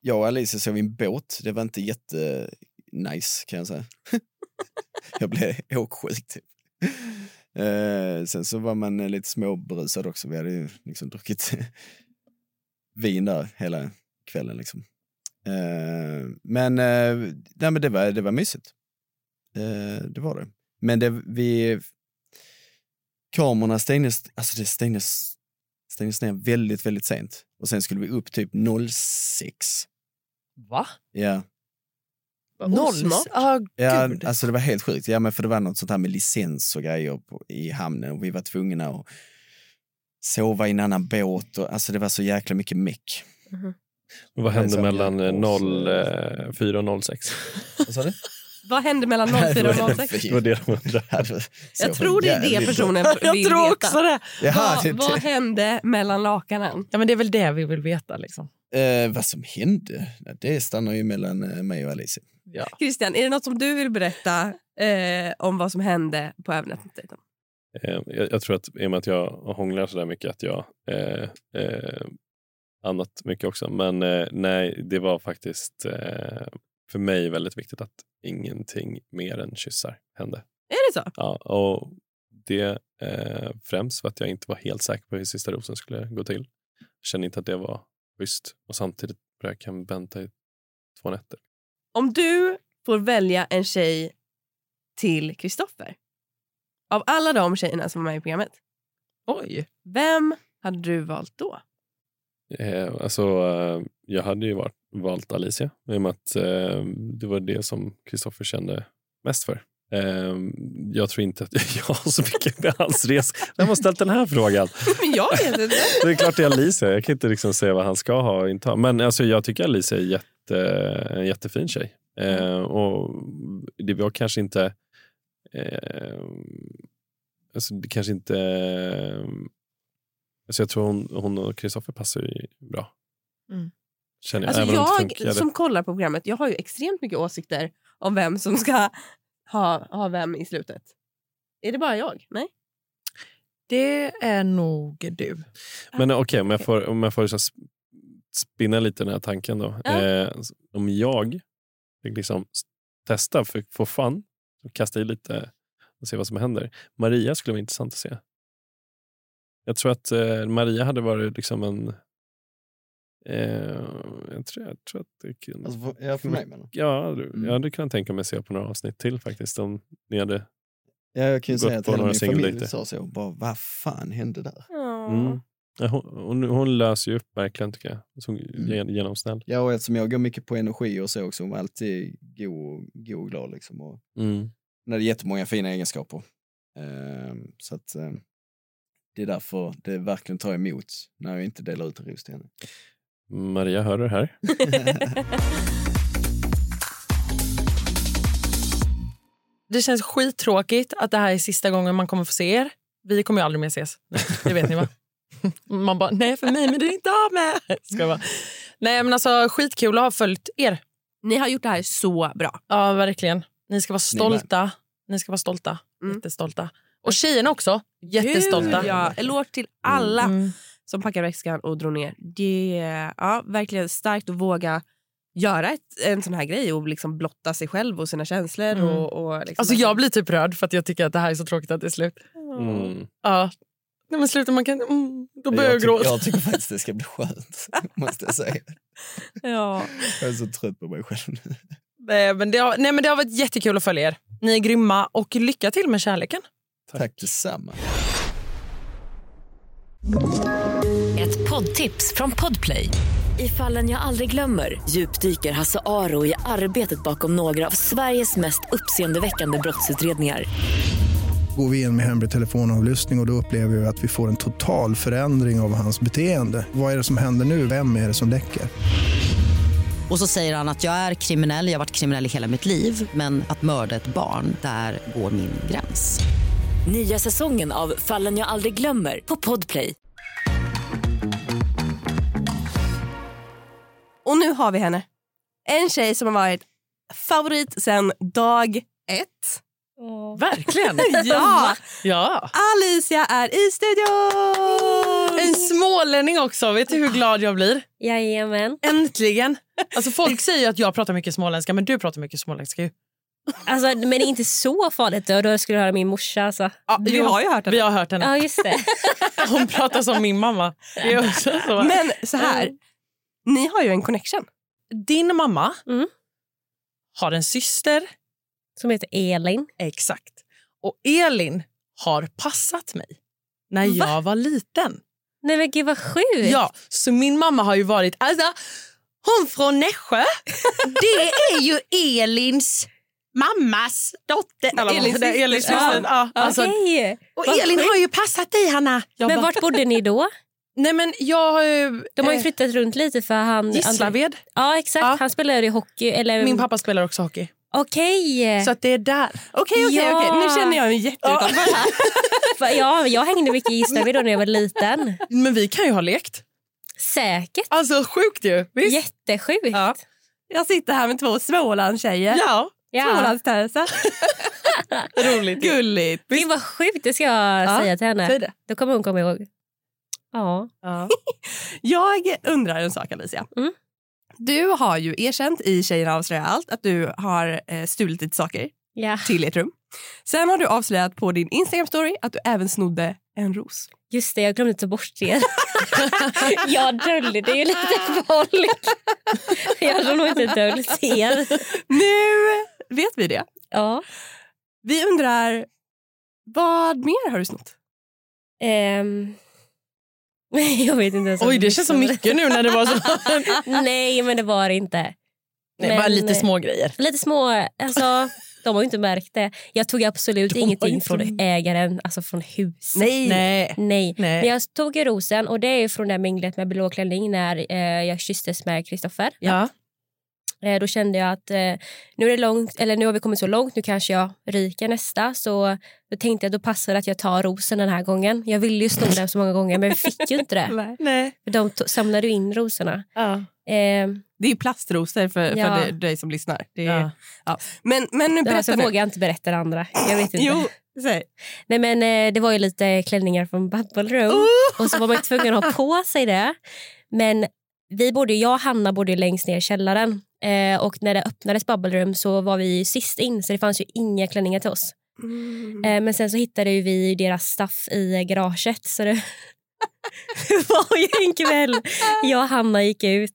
Speaker 4: jag och Alicia såg en båt. Det var inte jätte nice kan jag säga. jag blev åksjuk. Typ. Eh, sen så var man eh, lite småberusad också. Vi hade ju liksom druckit vin där hela kvällen. Liksom. Eh, men eh, nej, men det, var, det var mysigt. Eh, det var det. Men det, vi... Kamerorna stängdes, alltså det stängdes stängdes ner väldigt, väldigt sent. Och sen skulle vi upp typ 06.
Speaker 2: Va?
Speaker 4: Ja,
Speaker 3: Vad osmart.
Speaker 2: Ah,
Speaker 4: ja
Speaker 2: Gud.
Speaker 4: alltså det var helt sjukt. Ja, men för det var något sånt här med licens och grejer på, i hamnen och vi var tvungna att sova i en annan båt. Och, alltså det var så jäkla mycket meck.
Speaker 8: Vad hände
Speaker 4: Det är så
Speaker 8: mellan eh,
Speaker 4: jävla-
Speaker 8: 04 och 06?
Speaker 4: Vad sa du?
Speaker 3: Vad hände mellan 04 och 06?
Speaker 8: Det var det de undrade.
Speaker 3: Jag tror det är det personen vill
Speaker 2: Jag tror
Speaker 3: veta.
Speaker 2: också det.
Speaker 4: Jaha, det,
Speaker 3: Vad, vad hände mellan lakanen?
Speaker 2: Ja, men det är väl det vi vill veta. Liksom.
Speaker 4: eh, vad som hände? Ja, Det stannar ju mellan eh, mig och Alice.
Speaker 3: Christian, är det något som du vill berätta eh, om vad som hände på övernättet?
Speaker 8: Eh, jag, jag tror att i och med att jag hånglar så där mycket att jag eh, eh, annat mycket också. Men eh, nej, det var faktiskt eh, för mig väldigt viktigt att ingenting mer än kyssar hände.
Speaker 3: Är det så?
Speaker 8: Ja, och det eh, främst för att jag inte var helt säker på hur sista rosen skulle gå till. Jag kände inte att det var schysst och samtidigt bara jag kan vänta i två nätter.
Speaker 3: Om du får välja en tjej till Kristoffer av alla de tjejerna som var med i programmet,
Speaker 2: Oj.
Speaker 3: vem hade du valt då?
Speaker 8: Eh, alltså, eh, jag hade ju varit, valt Alicia i och med att eh, det var det som Kristoffer kände mest för. Eh, jag tror inte att jag har så mycket med hans resa. Vem har ställt den här frågan?
Speaker 3: Men jag vet inte.
Speaker 8: Det är klart det är Alicia. Jag kan inte liksom säga vad han ska ha och inte ha. Men alltså, jag tycker Alicia är jätte, en jättefin tjej. Eh, och det var kanske inte... Eh, alltså, det kanske inte... Eh, alltså, jag tror hon, hon och Kristoffer passar ju bra.
Speaker 2: Mm.
Speaker 8: Känner jag.
Speaker 3: Alltså
Speaker 8: även om det
Speaker 3: jag
Speaker 8: funkade.
Speaker 3: som kollar på programmet jag har ju extremt mycket åsikter om vem som ska ha, ha vem i slutet. Är det bara jag? Nej?
Speaker 2: Det är nog du.
Speaker 8: Men Ah, okej, om jag får, om jag får så sp- spinna lite den här tanken då.
Speaker 3: Ja.
Speaker 8: Eh, om jag fick liksom s- testa för få fun, och kasta i lite och se vad som händer. Maria skulle vara intressant att se. Jag tror att eh, Maria hade varit liksom en... Eh, jag, tror, jag tror att det kunde...
Speaker 4: ja,
Speaker 8: för mig
Speaker 4: menar
Speaker 8: Alltså, Ja, du-
Speaker 4: Alltså, Mm.
Speaker 8: jag hade kunnat tänka mig att se på några avsnitt till faktiskt. Om ni hade,
Speaker 4: Ja, jag kan ju
Speaker 8: Gått
Speaker 4: säga att
Speaker 8: på
Speaker 4: hela
Speaker 8: några
Speaker 4: min
Speaker 8: single
Speaker 4: familj
Speaker 8: date.
Speaker 4: sa så. Bara, vad fan hände där?
Speaker 8: mm. Ja, hon, hon, hon löser ju upp verkligen tycker jag. Så,
Speaker 4: Mm.
Speaker 8: Genomsnäll.
Speaker 4: Ja, och eftersom jag går mycket på energi och så också, hon var alltid god, god och glad. Liksom, och
Speaker 8: Mm.
Speaker 4: hon hade jättemånga fina egenskaper. Ehm, så att ehm, det är därför det verkligen tar emot när jag inte delar ut en ros till henne.
Speaker 8: Maria, hör du det här?
Speaker 2: Det känns skittråkigt att det här är sista gången man kommer få se er. Vi kommer ju aldrig mer ses. Det vet ni va? Man bara, nej för mig men det är inte av med. Ska jag bara. Nej men alltså skitkul att ha följt er.
Speaker 3: Ni har gjort det här så bra.
Speaker 2: Ja verkligen. Ni ska vara
Speaker 4: Ni med.
Speaker 2: stolta. Ni ska vara stolta.
Speaker 3: Mm.
Speaker 2: Jättestolta. Och tjejerna också. Jättestolta.
Speaker 3: Gud, Ja, eloge till alla
Speaker 2: Mm.
Speaker 3: som packade väskan och drog ner. Det är ja, verkligen starkt att våga göra ett, en sån här grej och liksom blotta sig själv och sina känslor.
Speaker 2: Mm.
Speaker 3: Och, och liksom
Speaker 2: Alltså jag blir typ rörd för att jag tycker att det här är så tråkigt att det är slut.
Speaker 8: Mm.
Speaker 2: Ja. Nej men sluta man kan... Mm, då börjar jag
Speaker 4: jag, tycker,
Speaker 2: gråta.
Speaker 4: jag tycker faktiskt det ska bli skönt, måste jag säga.
Speaker 3: Ja.
Speaker 4: Jag är så trött på mig själv nu.
Speaker 2: Nej Eh, men, det har, nej men det har varit jättekul att följa er. Ni är grymma och lycka till med kärleken.
Speaker 4: Tack, detsamma.
Speaker 7: Ett poddtips från Podplay. I fallen jag aldrig glömmer djupdyker Hasse Aro i arbetet bakom några av Sveriges mest uppseendeväckande brottsutredningar.
Speaker 10: Går vi in med hemlig telefonavlyssning och, och då upplever vi att vi får en total förändring av hans beteende. Vad är det som händer nu? Vem är det som läcker?
Speaker 6: Och så säger han att jag är kriminell, jag har varit kriminell i hela mitt liv men att mörda ett barn, där går min gräns.
Speaker 7: Nya säsongen av Fallen jag aldrig glömmer på Podplay.
Speaker 3: Och nu har vi henne. En tjej som har varit favorit sedan dag ett.
Speaker 2: Verkligen.
Speaker 3: Ja,
Speaker 2: ja.
Speaker 3: Alicia är i studion!
Speaker 2: En smålänning också. Vet du hur glad jag blir?
Speaker 11: Jajamän.
Speaker 2: Äntligen. Alltså folk säger ju att jag pratar mycket småländska men du pratar mycket småländska ju.
Speaker 11: Alltså, men det är inte så farligt. Då, då skulle du höra min morsa. Alltså.
Speaker 3: Ja, vi har ju hört henne.
Speaker 2: Vi har hört henne.
Speaker 11: Ja, just det.
Speaker 2: Hon pratar som min mamma. Det är också så.
Speaker 3: Men så här, ni har ju en connection.
Speaker 2: Din mamma
Speaker 11: Mm.
Speaker 2: har en syster.
Speaker 11: Som heter Elin.
Speaker 2: Exakt. Och Elin har passat mig när jag var liten.
Speaker 11: Nej men gud vad sjukt.
Speaker 2: Ja, så min mamma har ju varit... Alltså, hon från Nässjö, det är ju Elins mammas dotter. Eller vad
Speaker 3: Elins
Speaker 2: heter det?
Speaker 3: syster.
Speaker 2: Elins syster. Ja. alltså,
Speaker 11: Okej.
Speaker 2: och
Speaker 11: vad
Speaker 2: Elin
Speaker 11: sjukt.
Speaker 2: har ju passat dig, Hanna. Jag
Speaker 11: Men
Speaker 2: bara,
Speaker 11: vart bodde ni då?
Speaker 2: nej men jag har ju...
Speaker 11: De har ju
Speaker 2: eh,
Speaker 11: flyttat runt lite för han...
Speaker 2: Gislaved.
Speaker 11: Ja exakt,
Speaker 2: Ja.
Speaker 11: han spelade ju hockey. Eller,
Speaker 2: Mm. Min pappa spelar också hockey.
Speaker 11: Okej.
Speaker 2: Så att det är där.
Speaker 5: Okej, okej,
Speaker 11: Ja.
Speaker 5: okej. Nu känner jag mig jätteutanför här.
Speaker 11: För Ja, jag hängde mycket i Gislaved då när jag var liten.
Speaker 2: Men vi kan ju ha lekt.
Speaker 11: Säkert.
Speaker 2: Alltså sjukt ju. Visst?
Speaker 11: Jättesjukt.
Speaker 2: Ja.
Speaker 5: Jag sitter här med två Smålandstjejer.
Speaker 2: Ja,
Speaker 11: Ja.
Speaker 5: Smålandstärser.
Speaker 2: roligt.
Speaker 5: Gulligt.
Speaker 11: Det var sjukt, det ska jag
Speaker 2: Ja,
Speaker 11: säga till henne.
Speaker 2: Säg det.
Speaker 11: Då kommer hon komma ihåg. Ja.
Speaker 5: Jag undrar en sak, Alicia.
Speaker 11: Mm.
Speaker 5: Du har ju erkänt i Tjejerna avslöjar allt att du har eh, stulit lite saker
Speaker 11: ja.
Speaker 5: till ert rum. Sen har du avslöjat på din Instagram-story att du även snodde en ros.
Speaker 11: Just det, jag glömde ta bort det. jag döljer det ju lite folk. jag har nog inte döljt er.
Speaker 5: Nu vet vi det.
Speaker 11: Ja.
Speaker 5: Vi undrar, vad mer har du snott?
Speaker 11: Ehm. jag vet inte ens om
Speaker 2: Oj,
Speaker 11: jag
Speaker 2: det känns så
Speaker 11: lyssnade.
Speaker 2: mycket nu när det var så.
Speaker 11: Nej, men det var det inte.
Speaker 2: Nej, bara
Speaker 11: Men- eh,
Speaker 2: lite små grejer.
Speaker 11: Lite små, alltså de har ju inte märkt det. Jag tog absolut
Speaker 2: De har
Speaker 11: ingenting
Speaker 2: inte
Speaker 11: från ägaren, alltså från huset.
Speaker 2: Nej.
Speaker 11: Nej.
Speaker 5: Eh.
Speaker 11: Men
Speaker 2: Nej.
Speaker 11: jag tog ju rosen och det är ju från det här minglet med blå klänning när eh, jag kysstes med Kristoffer.
Speaker 2: Ja.
Speaker 11: Eh, då kände jag att eh, nu, är det långt, eller nu har vi kommit så långt, nu kanske jag ryker nästa. Så då tänkte jag då passar det att jag tar rosen den här gången. Jag ville ju sno den så många gånger men jag fick ju inte det.
Speaker 2: Nej.
Speaker 11: För De to- samlade ju in rosorna.
Speaker 2: Ja.
Speaker 11: Eh,
Speaker 5: Det är plastrosor för,
Speaker 11: Ja.
Speaker 5: för dig- dig som lyssnar. Det är,
Speaker 2: Ja.
Speaker 5: Men, men nu
Speaker 11: det här så
Speaker 5: berätta nu.
Speaker 11: vågar jag inte berätta det andra. Jag vet inte.
Speaker 5: Jo, säg.
Speaker 11: Nej, men, eh, det var ju lite klänningar från Bubble Room. Och så var man ju tvungen att ha på sig det. Men vi bodde, jag och Hanna bodde ju längst ner i källaren. Eh, och när det öppnades Bubble Room så var vi ju sist in så det fanns ju inga klänningar till oss.
Speaker 2: Mm.
Speaker 11: Eh, men sen så hittade ju vi deras staff i eh, garaget. Så det det var ju en kväll jag och Hanna gick ut.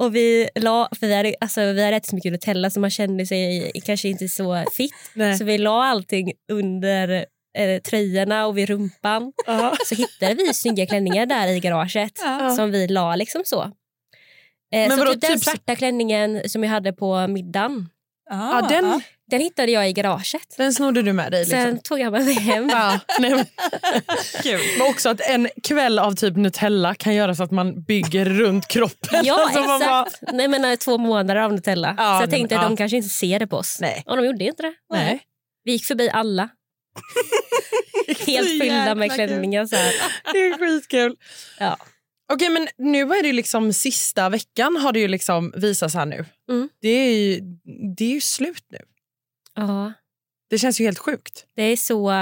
Speaker 11: Och vi, la, för vi, hade, alltså, vi hade ätit så mycket Nutella så man kände sig kanske inte så fit.
Speaker 2: Nej.
Speaker 11: Så vi la allting under eh, tröjorna och vid rumpan.
Speaker 2: Ja.
Speaker 11: Så hittade vi snygga klänningar där i garaget som vi la liksom så. Eh, så
Speaker 2: vadå,
Speaker 11: typ den
Speaker 2: typ så-
Speaker 11: svarta klänningen som jag hade på middagen,
Speaker 5: Ah,
Speaker 2: Ja, den,
Speaker 11: den hittade jag i garaget.
Speaker 2: den snodde du med dig. Liksom.
Speaker 11: Sen tog jag med mig hem.
Speaker 2: Ja, nej, men,
Speaker 5: Kul.
Speaker 2: men också att en kväll av typ Nutella kan göra så att man bygger runt kroppen.
Speaker 11: Ja,
Speaker 2: Alltså, man bara-
Speaker 11: exakt. Nej, men eh, två månader av Nutella.
Speaker 2: Ja,
Speaker 11: så
Speaker 2: men-
Speaker 11: jag tänkte att
Speaker 2: ja.
Speaker 11: de kanske inte ser det på oss.
Speaker 2: Nej.
Speaker 11: Och de gjorde ju inte det.
Speaker 2: Nej.
Speaker 11: Vi gick förbi alla. Helt fyllda med klänningar. Så här.
Speaker 2: Det är skitkul.
Speaker 11: Ja.
Speaker 2: Okej, men nu är det ju liksom sista veckan har det ju liksom visats här nu.
Speaker 11: Mm.
Speaker 2: Det, är ju, det är ju slut nu.
Speaker 11: Ja,
Speaker 2: Det känns ju helt sjukt.
Speaker 11: det är så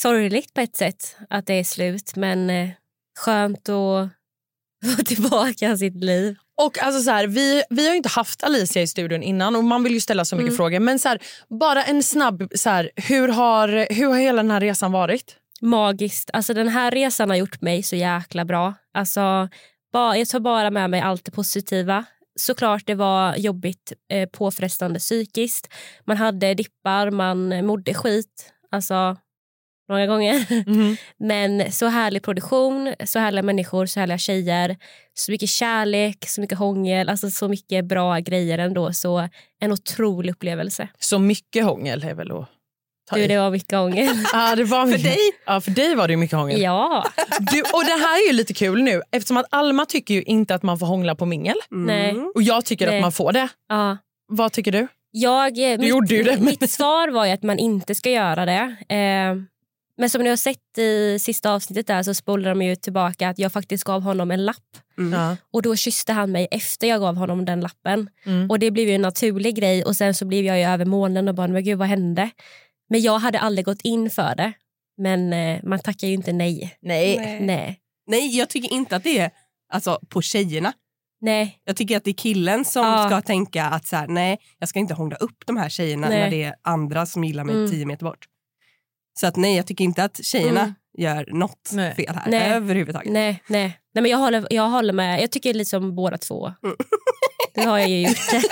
Speaker 11: sorgligt på ett sätt att det är slut men eh, skönt att få tillbaka sitt liv.
Speaker 2: Och alltså så här, vi, vi har ju inte haft Alicia i studion innan och man vill ju ställa så mycket
Speaker 11: Mm.
Speaker 2: frågor. Men så här, bara en snabb, så här, hur, har, hur har hela den här resan varit?
Speaker 11: Magiskt. Alltså, den här resan har gjort mig så jäkla bra. Alltså, ba, jag tar bara med mig allt det positiva. Såklart det var jobbigt, eh, påfrestande psykiskt. Man hade dippar, man eh, mådde skit. Alltså, många gånger. Men så härlig produktion, så härliga människor, så härliga tjejer. Så mycket kärlek, så mycket hångel, alltså så mycket bra grejer ändå. Så en otrolig upplevelse.
Speaker 2: Så mycket hångel är väl att ta
Speaker 11: Du,
Speaker 2: i.
Speaker 11: det var mycket hångel.
Speaker 2: Ja, det var mycket.
Speaker 5: dig?
Speaker 2: Ja, för dig var det ju mycket hångel.
Speaker 11: ja,
Speaker 2: Du, och det här är ju lite kul nu eftersom att Alma tycker ju inte att man får hångla på mingel
Speaker 11: nej.
Speaker 5: Mm.
Speaker 2: och jag tycker
Speaker 11: Nej.
Speaker 2: att man får det.
Speaker 11: Ja.
Speaker 2: Vad tycker du?
Speaker 11: Jag, eh, mitt,
Speaker 2: gjorde ju det, men-
Speaker 11: mitt svar var ju att man inte ska göra det. Eh, men som ni har sett i sista avsnittet där så spolar de ju tillbaka att jag faktiskt gav honom en lapp.
Speaker 2: Ja.
Speaker 11: Och då kysste han mig efter jag gav honom den lappen.
Speaker 2: Mm.
Speaker 11: Och det blev ju en naturlig grej och sen så blev jag ju över månen och bara men gud vad hände? Men jag hade aldrig gått in för det. Men eh, man tackar ju inte nej.
Speaker 2: Nej.
Speaker 11: Nej.
Speaker 5: Nej, jag tycker inte att det är alltså, på tjejerna.
Speaker 11: Nej.
Speaker 5: Jag tycker att det är killen som
Speaker 11: Ja.
Speaker 5: ska tänka att så här, nej, jag ska inte hångla upp de här tjejerna
Speaker 11: Nej.
Speaker 5: när det är andra som gillar mig
Speaker 11: Mm.
Speaker 5: tio meter bort. Så att nej, jag tycker inte att tjejerna
Speaker 11: Mm.
Speaker 5: gör något
Speaker 2: Nej.
Speaker 5: fel här
Speaker 11: Nej.
Speaker 5: överhuvudtaget.
Speaker 11: Nej, nej. nej men jag håller, jag håller med. Jag tycker liksom båda två.
Speaker 5: Mm.
Speaker 11: Det har jag ju gjort.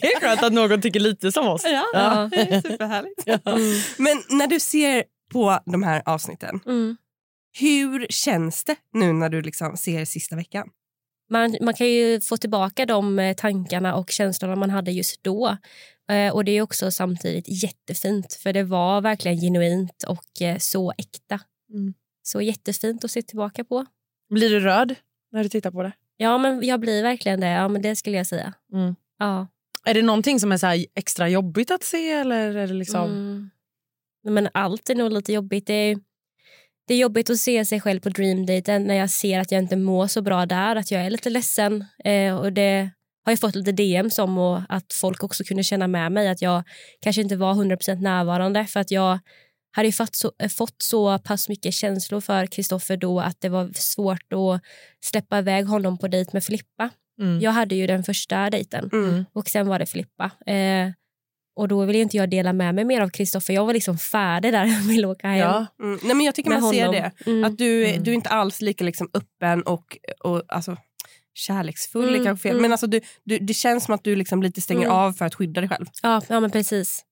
Speaker 2: Det är skönt att någon tycker lite som oss.
Speaker 5: Ja,
Speaker 11: Ja.
Speaker 5: det är superhärligt.
Speaker 11: Mm.
Speaker 5: Men när du ser på de här avsnitten,
Speaker 11: Mm.
Speaker 5: hur känns det nu när du liksom ser sista veckan?
Speaker 11: Man, man kan ju få tillbaka de eh, tankarna och känslorna man hade just då. Eh, och Det är också samtidigt jättefint, för det var verkligen genuint och eh, så äkta.
Speaker 2: Mm.
Speaker 11: Så jättefint att se tillbaka på.
Speaker 2: Blir du röd när du tittar på det?
Speaker 11: Ja, men jag blir verkligen det. Ja, men det skulle jag säga.
Speaker 2: Mm.
Speaker 11: Ja.
Speaker 2: Är det någonting som är så här extra jobbigt att se? Eller är det liksom...
Speaker 11: Mm. Nej, Men allt är nog lite jobbigt. Det är, det är jobbigt att se sig själv på dreamdaten när jag ser att jag inte mår så bra där, att jag är lite ledsen. Eh, och det har jag fått lite DMs om och att folk också kunde känna med mig att jag kanske inte var 100% närvarande för att jag hade ju fått så, eh, fått så pass mycket känslor för Kristoffer då att det var svårt att släppa iväg honom på dejt med Filippa.
Speaker 2: Mm.
Speaker 11: Jag hade ju den första dejten
Speaker 3: Mm.
Speaker 11: och sen var det Filippa. Eh, och då ville inte jag dela med mig mer av Kristoffer. Jag var liksom färdig där jag ville åka hem.
Speaker 2: Ja.
Speaker 3: Mm. Nej, men jag tycker
Speaker 11: med
Speaker 3: man ser
Speaker 11: honom.
Speaker 3: det.
Speaker 11: Mm.
Speaker 3: Att du,
Speaker 2: Mm.
Speaker 3: du är inte alls lika liksom, öppen och, och alltså, kärleksfull.
Speaker 11: Mm,
Speaker 3: är kanske fel.
Speaker 11: mm.
Speaker 3: Men alltså, du, du, det känns som att du liksom lite stänger
Speaker 11: Mm.
Speaker 3: av för att skydda dig själv.
Speaker 11: Ja, ja men precis.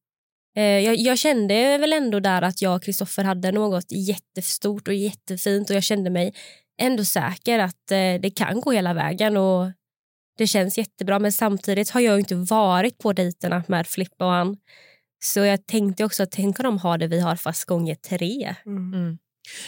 Speaker 11: Eh, jag, jag kände väl ändå där att jag och Kristoffer hade något jättestort och jättefint och jag kände mig ändå säker att eh, det kan gå hela vägen och det känns jättebra men samtidigt har jag ju inte varit på dejterna med Flippa och han. Så jag tänkte också att tänk om de har det vi har fast gånger tre.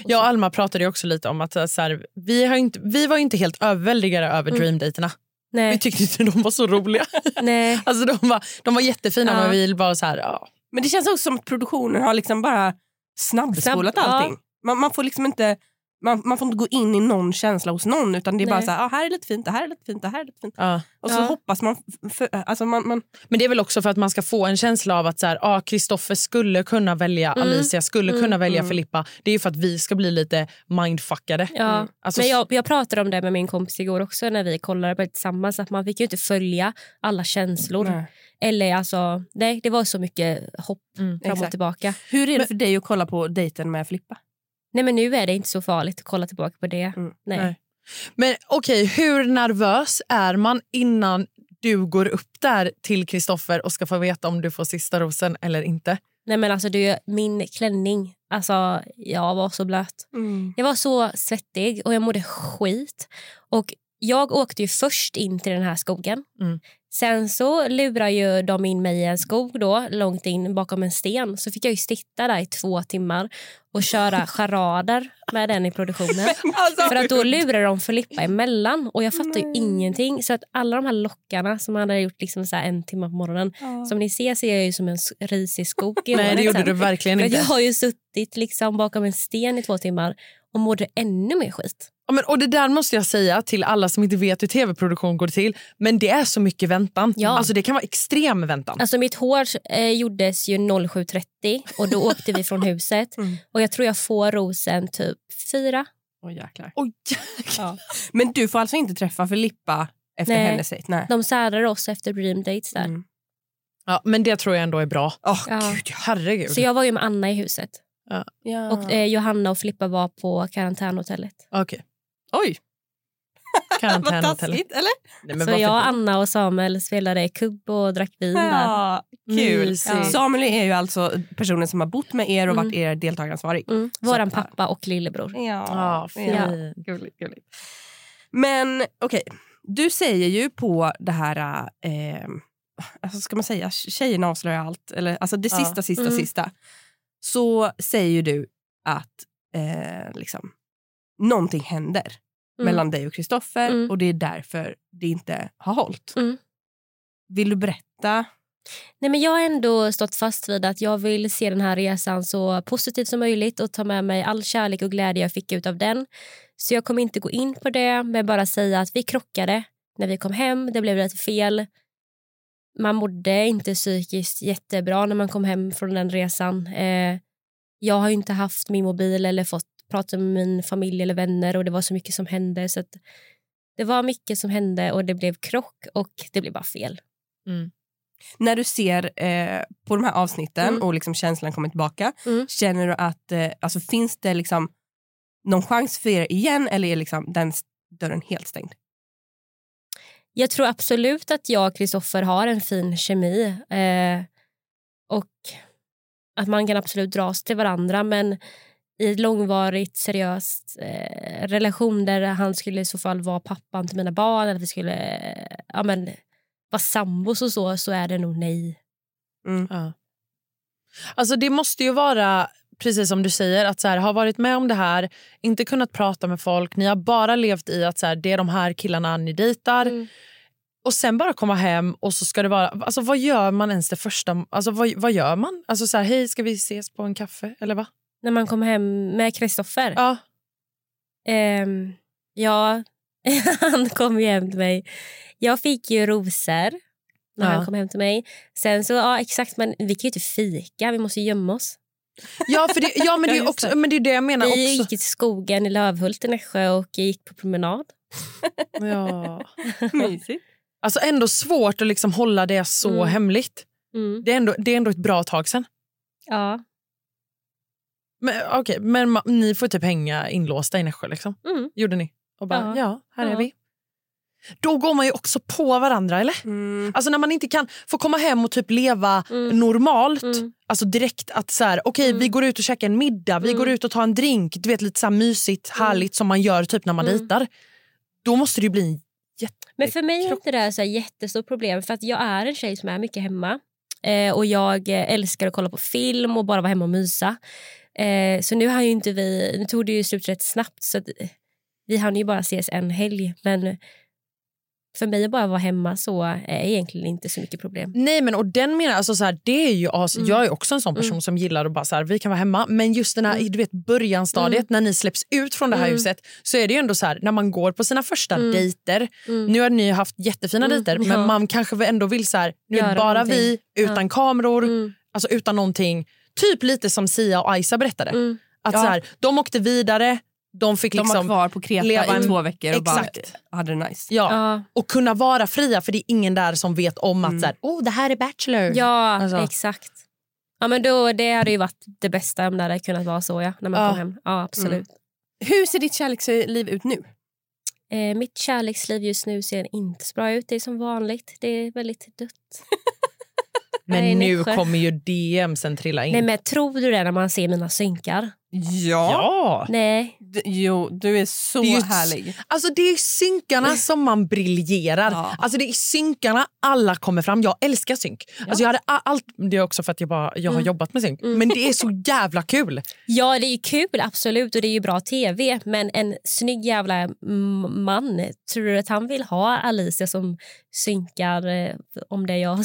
Speaker 2: Jag och Alma pratade ju också lite om att så här, vi, har inte, vi var ju inte helt överväldigade över
Speaker 11: Mm.
Speaker 2: dreamdaterna. Vi
Speaker 11: Nej,
Speaker 2: tyckte inte de var så roliga.
Speaker 11: nej.
Speaker 2: Alltså de var, de var jättefina
Speaker 11: Ja.
Speaker 2: men vi bara så här, ja.
Speaker 3: Men det känns också som att produktionen har liksom bara snabbspolat
Speaker 11: Snabb- ja.
Speaker 3: allting. Man, man får liksom inte... Man, man får inte gå in i någon känsla hos någon utan det är bara
Speaker 11: Nej.
Speaker 3: så här, ah, här är lite fint, det här är lite fint, det här är lite fint.
Speaker 2: Ja.
Speaker 3: Och så
Speaker 11: Ja.
Speaker 3: hoppas man, f- för, alltså man, man
Speaker 2: Men det är väl också för att man ska få en känsla av att så här, ah, Kristoffer skulle kunna välja
Speaker 11: Mm.
Speaker 2: Alicia, skulle
Speaker 11: Mm,
Speaker 2: kunna välja
Speaker 3: mm.
Speaker 2: Filippa. Det är ju för att vi ska bli lite mindfuckade.
Speaker 11: Ja.
Speaker 2: Alltså,
Speaker 11: Men jag, jag pratade om det med min kompis igår också när vi kollade på det tillsammans att man fick ju inte följa alla känslor. Eller alltså, nej, det var så mycket hopp
Speaker 2: Mm,
Speaker 11: fram
Speaker 3: exakt.
Speaker 11: och tillbaka.
Speaker 3: Hur är det för dig att kolla på dejten med Filippa?
Speaker 11: Nej men nu är det inte så farligt att kolla tillbaka på det.
Speaker 3: Mm,
Speaker 11: Nej.
Speaker 2: nej. Men okej, hur nervös är man innan du går upp där till Kristoffer och ska få veta om du får sista rosen eller inte?
Speaker 11: nej men alltså du, min klänning, alltså jag var så blöt.
Speaker 3: Mm.
Speaker 11: Jag var så svettig och jag mådde skit. Och jag åkte ju först in till den här skogen.
Speaker 2: Mm.
Speaker 11: Sen så lurar ju de in mig i en skog då, långt in bakom en sten. Så fick jag ju sitta där i två timmar och köra charader med den i produktionen.
Speaker 3: Alltså-
Speaker 11: För att då lurade de Filippa emellan och jag fattar ju ingenting. Så att alla de här lockarna som han hade gjort liksom så här en timme på morgonen. Som ni ser ser jag ju som en s- risig skog i
Speaker 2: Nej,
Speaker 11: håret
Speaker 2: det gjorde
Speaker 11: sen.
Speaker 2: du verkligen
Speaker 11: För att
Speaker 2: inte.
Speaker 11: jag har ju suttit liksom bakom en sten i två timmar och mådde ännu mer skit.
Speaker 2: Ja, men, och Det där måste jag säga till alla som inte vet hur tv-produktion går till. Men det är så mycket väntan.
Speaker 11: Ja.
Speaker 2: Alltså Det kan vara extrem väntan.
Speaker 11: Alltså mitt hår eh, gjordes ju 07.30 och då åkte vi från huset.
Speaker 3: Mm.
Speaker 11: Och jag tror jag får rosen typ fyra.
Speaker 3: Åh, jäklar.
Speaker 2: Oj,
Speaker 3: Men du får alltså inte träffa Filippa efter
Speaker 11: Nej.
Speaker 3: hennes dejt? Nej.
Speaker 11: De särade oss efter dream dates där.
Speaker 3: Mm.
Speaker 2: ja, men det tror jag ändå är bra.
Speaker 3: Åh,
Speaker 11: Ja.
Speaker 3: gud.
Speaker 2: Herregud.
Speaker 11: Så jag var ju med Anna i huset.
Speaker 3: Ja.
Speaker 2: Ah.
Speaker 11: Och eh, Johanna och Filippa var på karantänhotellet.
Speaker 2: Okej,
Speaker 3: Oj, vad
Speaker 2: karantänhotellet.
Speaker 3: taskigt. Eller?
Speaker 2: Nej, men
Speaker 11: Så
Speaker 2: varför
Speaker 11: jag,
Speaker 2: inte? Ah,
Speaker 11: Anna och Samuel spelade kubb och drack vin där. Mm.
Speaker 3: Ja, kul.
Speaker 2: Mysigt.
Speaker 3: Ja. Samuel är ju alltså personen som har bott med er och
Speaker 11: Mm.
Speaker 3: varit er deltagaransvarig.
Speaker 11: Mm. Våran pappa och lillebror.
Speaker 2: Ja, fint.
Speaker 11: Ja.
Speaker 3: Gulligt, gulligt. Men okej, du säger ju på det här... Eh, alltså ska man säga tjejerna avslöjar allt? Eller, alltså det
Speaker 2: Ja.
Speaker 3: sista, sista,
Speaker 11: Mm.
Speaker 3: sista. Så säger ju du att eh, liksom, någonting händer
Speaker 11: Mm.
Speaker 3: mellan dig och Kristoffer
Speaker 11: Mm.
Speaker 3: och det är därför det inte har hållit.
Speaker 11: Mm.
Speaker 3: Vill du berätta?
Speaker 11: Nej, men jag har ändå stått fast vid att jag vill se den här resan så positivt som möjligt och ta med mig all kärlek och glädje jag fick ut av den. Så jag kommer inte gå in på det, men bara säga att vi krockade när vi kom hem. Det blev lite fel. Man mådde inte psykiskt jättebra när man kom hem från den resan. Eh, jag har ju inte haft min mobil eller fått prata med min familj eller vänner och det var så mycket som hände. Så att det var mycket som hände och det blev krock och det blev bara fel.
Speaker 3: När du ser eh, på de här avsnitten
Speaker 11: Mm.
Speaker 3: och liksom känslan kommer tillbaka,
Speaker 11: Mm.
Speaker 3: känner du att eh, alltså, finns det liksom någon chans för er igen eller är liksom den s- dörren helt stängd?
Speaker 11: Jag tror absolut att jag och Kristoffer har en fin kemi. Eh, och att man kan absolut dras till varandra men i ett långvarigt seriöst eh, relation där han skulle i så fall vara pappan till mina barn eller att vi skulle eh, ja, men, vara sambos och så, så är det nog nej.
Speaker 2: Ja. Alltså det måste ju vara precis som du säger, att så här, ha varit med om det här, inte
Speaker 11: Mm.
Speaker 2: kunnat prata med folk, ni har bara levt i att så här, det är de här killarna ni dejtar. Och sen bara komma hem och så ska det vara... Alltså vad gör man ens det första... Alltså vad, vad gör man? Alltså så här, hej ska vi ses på en kaffe eller va?
Speaker 11: När man kom hem med Kristoffer.
Speaker 2: Ja.
Speaker 11: Ehm, ja, han kom ju hem till mig. Jag fick ju rosor
Speaker 2: Ja.
Speaker 11: när han kom hem till mig. Sen så, ja exakt, men vi kan ju inte fika, vi måste ju gömma oss.
Speaker 2: Ja, för det, ja men det är
Speaker 3: Ja,
Speaker 2: ju
Speaker 3: just
Speaker 2: också, men det, är det jag menar
Speaker 11: Vi
Speaker 2: också.
Speaker 11: gick i skogen i Lövhult i Nässjö och gick på promenad.
Speaker 2: Ja.
Speaker 3: Mysigt.
Speaker 2: Alltså ändå svårt att liksom hålla det så
Speaker 11: Mm.
Speaker 2: hemligt.
Speaker 11: Mm.
Speaker 2: Det är, ändå, det är ändå ett bra tag sen.
Speaker 11: Ja.
Speaker 2: Men, okay, men ma- ni får typ hänga inlåsta i Nässjö liksom.
Speaker 11: Mm.
Speaker 2: Gjorde ni? Och bara, ja,
Speaker 11: Ja.
Speaker 2: här är
Speaker 11: Ja.
Speaker 2: vi. Då går man ju också på varandra eller?
Speaker 3: Mm.
Speaker 2: Alltså när man inte kan få komma hem och typ leva
Speaker 11: Mm.
Speaker 2: normalt.
Speaker 11: Mm.
Speaker 2: Alltså direkt att så här, okej
Speaker 11: Mm.
Speaker 2: vi går ut och käkar en middag, vi
Speaker 11: Mm.
Speaker 2: går ut och tar en drink. Du vet lite så här mysigt,
Speaker 11: Mm.
Speaker 2: härligt som man gör typ när man
Speaker 11: Mm.
Speaker 2: dejtar. Då måste det ju bli en jätte...
Speaker 11: Men för mig är inte det här så här jättestort problem för att jag är en tjej som är mycket hemma. Eh, och jag eh, älskar att kolla på film och bara vara hemma och mysa. Eh, så nu har ju inte vi, nu tog det ju slut rätt snabbt så att eh, vi hann ju bara ses en helg. Men för mig att bara vara hemma så är egentligen inte så mycket problem.
Speaker 2: Nej men och den menar alltså så här, det är ju as-
Speaker 11: Mm.
Speaker 2: jag är också en sån person som gillar att bara så här, vi kan vara hemma men just den här
Speaker 11: Mm.
Speaker 2: i, du vet börjanstadiet när ni släpps ut från det här
Speaker 11: Mm.
Speaker 2: huset så är det ju ändå så här när man går på sina första
Speaker 11: Mm.
Speaker 2: dejter Nu har ni haft jättefina
Speaker 11: Mm,
Speaker 2: dejter
Speaker 11: ja.
Speaker 2: men man kanske ändå vill så här, nu är det
Speaker 11: Göra
Speaker 2: bara
Speaker 11: någonting.
Speaker 2: vi, utan kameror,
Speaker 11: Mm.
Speaker 2: alltså utan någonting. Typ lite som Sia och Aisa berättade.
Speaker 11: Mm.
Speaker 2: Att
Speaker 3: Ja.
Speaker 2: så här, de åkte vidare, de fick
Speaker 5: De var
Speaker 2: liksom
Speaker 5: kvar på
Speaker 2: lea
Speaker 5: Kreta bara
Speaker 2: in-
Speaker 5: två veckor och bara
Speaker 2: Exakt.
Speaker 5: hade det nice.
Speaker 2: ja,
Speaker 11: Ja,
Speaker 2: och kunna vara fria för det är ingen där som vet om att
Speaker 5: Mm.
Speaker 2: så här, oh, det här är Bachelor.
Speaker 11: ja
Speaker 2: Alltså.
Speaker 11: exakt. Ja, men då, det hade ju varit det bästa om det hade kunnat vara så ja, när man
Speaker 2: Ja.
Speaker 11: kom hem. Ja, absolut.
Speaker 3: Hur ser ditt kärleksliv ut nu?
Speaker 11: Eh, mitt kärleksliv just nu ser inte så bra ut. Det är som vanligt. Det är väldigt dött.
Speaker 2: Men
Speaker 11: Nej,
Speaker 2: nu
Speaker 11: Nässjö.
Speaker 2: kommer ju DM sen trilla in.
Speaker 11: Nej, men tror du det när man ser mina synkar?
Speaker 2: ja.
Speaker 11: Nej.
Speaker 3: D- jo, du är så
Speaker 2: Det är ju-
Speaker 3: härlig.
Speaker 2: Alltså det är synkarna som man briljerar.
Speaker 3: Ja.
Speaker 2: Alltså det är synkarna alla kommer fram. Jag älskar synk. Alltså jag hade a- allt, det är också för att jag, bara, jag har jobbat med synk. Men det är så jävla kul.
Speaker 11: Ja, det är ju kul, absolut, och det är ju bra tv. Men en snygg jävla mm, man, tror du att han vill ha Alicia som synkar eh, om det jag har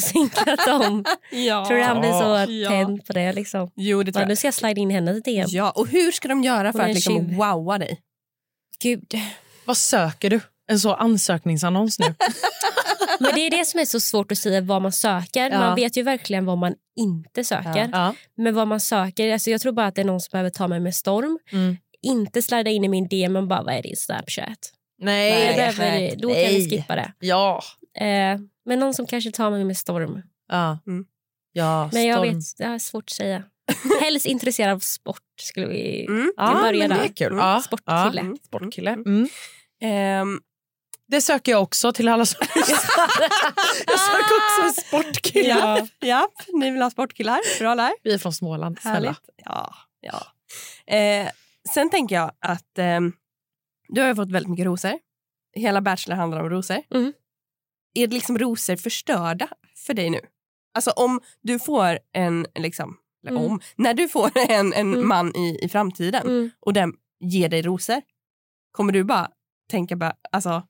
Speaker 11: synkat om?
Speaker 3: Ja.
Speaker 11: Tror du han blir så
Speaker 3: Ja.
Speaker 11: tänd på det? liksom?
Speaker 3: Jo, det tror
Speaker 11: Ja,
Speaker 3: jag.
Speaker 11: nu ska jag slida in henne i DM.
Speaker 3: Ja, och hur ska de göra för
Speaker 11: Hon är
Speaker 3: att liksom
Speaker 11: tjuv.
Speaker 3: wowa dig?
Speaker 11: Gud.
Speaker 2: Vad söker du? En så ansökningsannons nu.
Speaker 11: Men det är det som är så svårt att säga vad man söker.
Speaker 2: Ja.
Speaker 11: Man vet ju verkligen vad man inte söker.
Speaker 2: ja.
Speaker 11: Men vad man söker, alltså jag tror bara att det är någon som behöver ta mig med storm.
Speaker 2: Mm.
Speaker 11: Inte slida in i min DM och bara vad är din Snapchat?
Speaker 2: Nej.
Speaker 11: Det behöver, då kan vi
Speaker 2: Nej.
Speaker 11: skippa det.
Speaker 2: Ja.
Speaker 11: Eh, men någon som kanske tar mig med storm.
Speaker 2: Ja.
Speaker 3: Mm.
Speaker 2: ja
Speaker 11: Men jag
Speaker 2: storm.
Speaker 11: vet, det är svårt att säga. Helst intresserad av sport skulle vi...
Speaker 3: Mm.
Speaker 2: Ja, men
Speaker 11: börjar
Speaker 2: det
Speaker 11: där.
Speaker 2: är kul.
Speaker 3: Mm.
Speaker 2: Ja. Ja.
Speaker 11: Sportkille.
Speaker 3: Mm.
Speaker 2: Sportkille.
Speaker 3: Mm.
Speaker 2: Mm.
Speaker 3: Ehm,
Speaker 2: Det söker jag också till alla som Jag söker också en sportkille.
Speaker 3: ja, ja, ni vill ha sportkillar. Bra där.
Speaker 2: Vi är från Småland. Snälla.
Speaker 3: Härligt. Ja, ja. Eh, sen tänker jag att ehm, du har ju fått väldigt mycket rosor. Hela Bachelor handlar om rosor.
Speaker 11: Mm.
Speaker 3: Är det liksom rosor förstörda för dig nu? Alltså om du får en, liksom, eller
Speaker 11: Mm.
Speaker 3: om, när du får en, en
Speaker 11: Mm.
Speaker 3: man i, i framtiden
Speaker 11: Mm.
Speaker 3: och den ger dig rosor, kommer du bara tänka bara, alltså,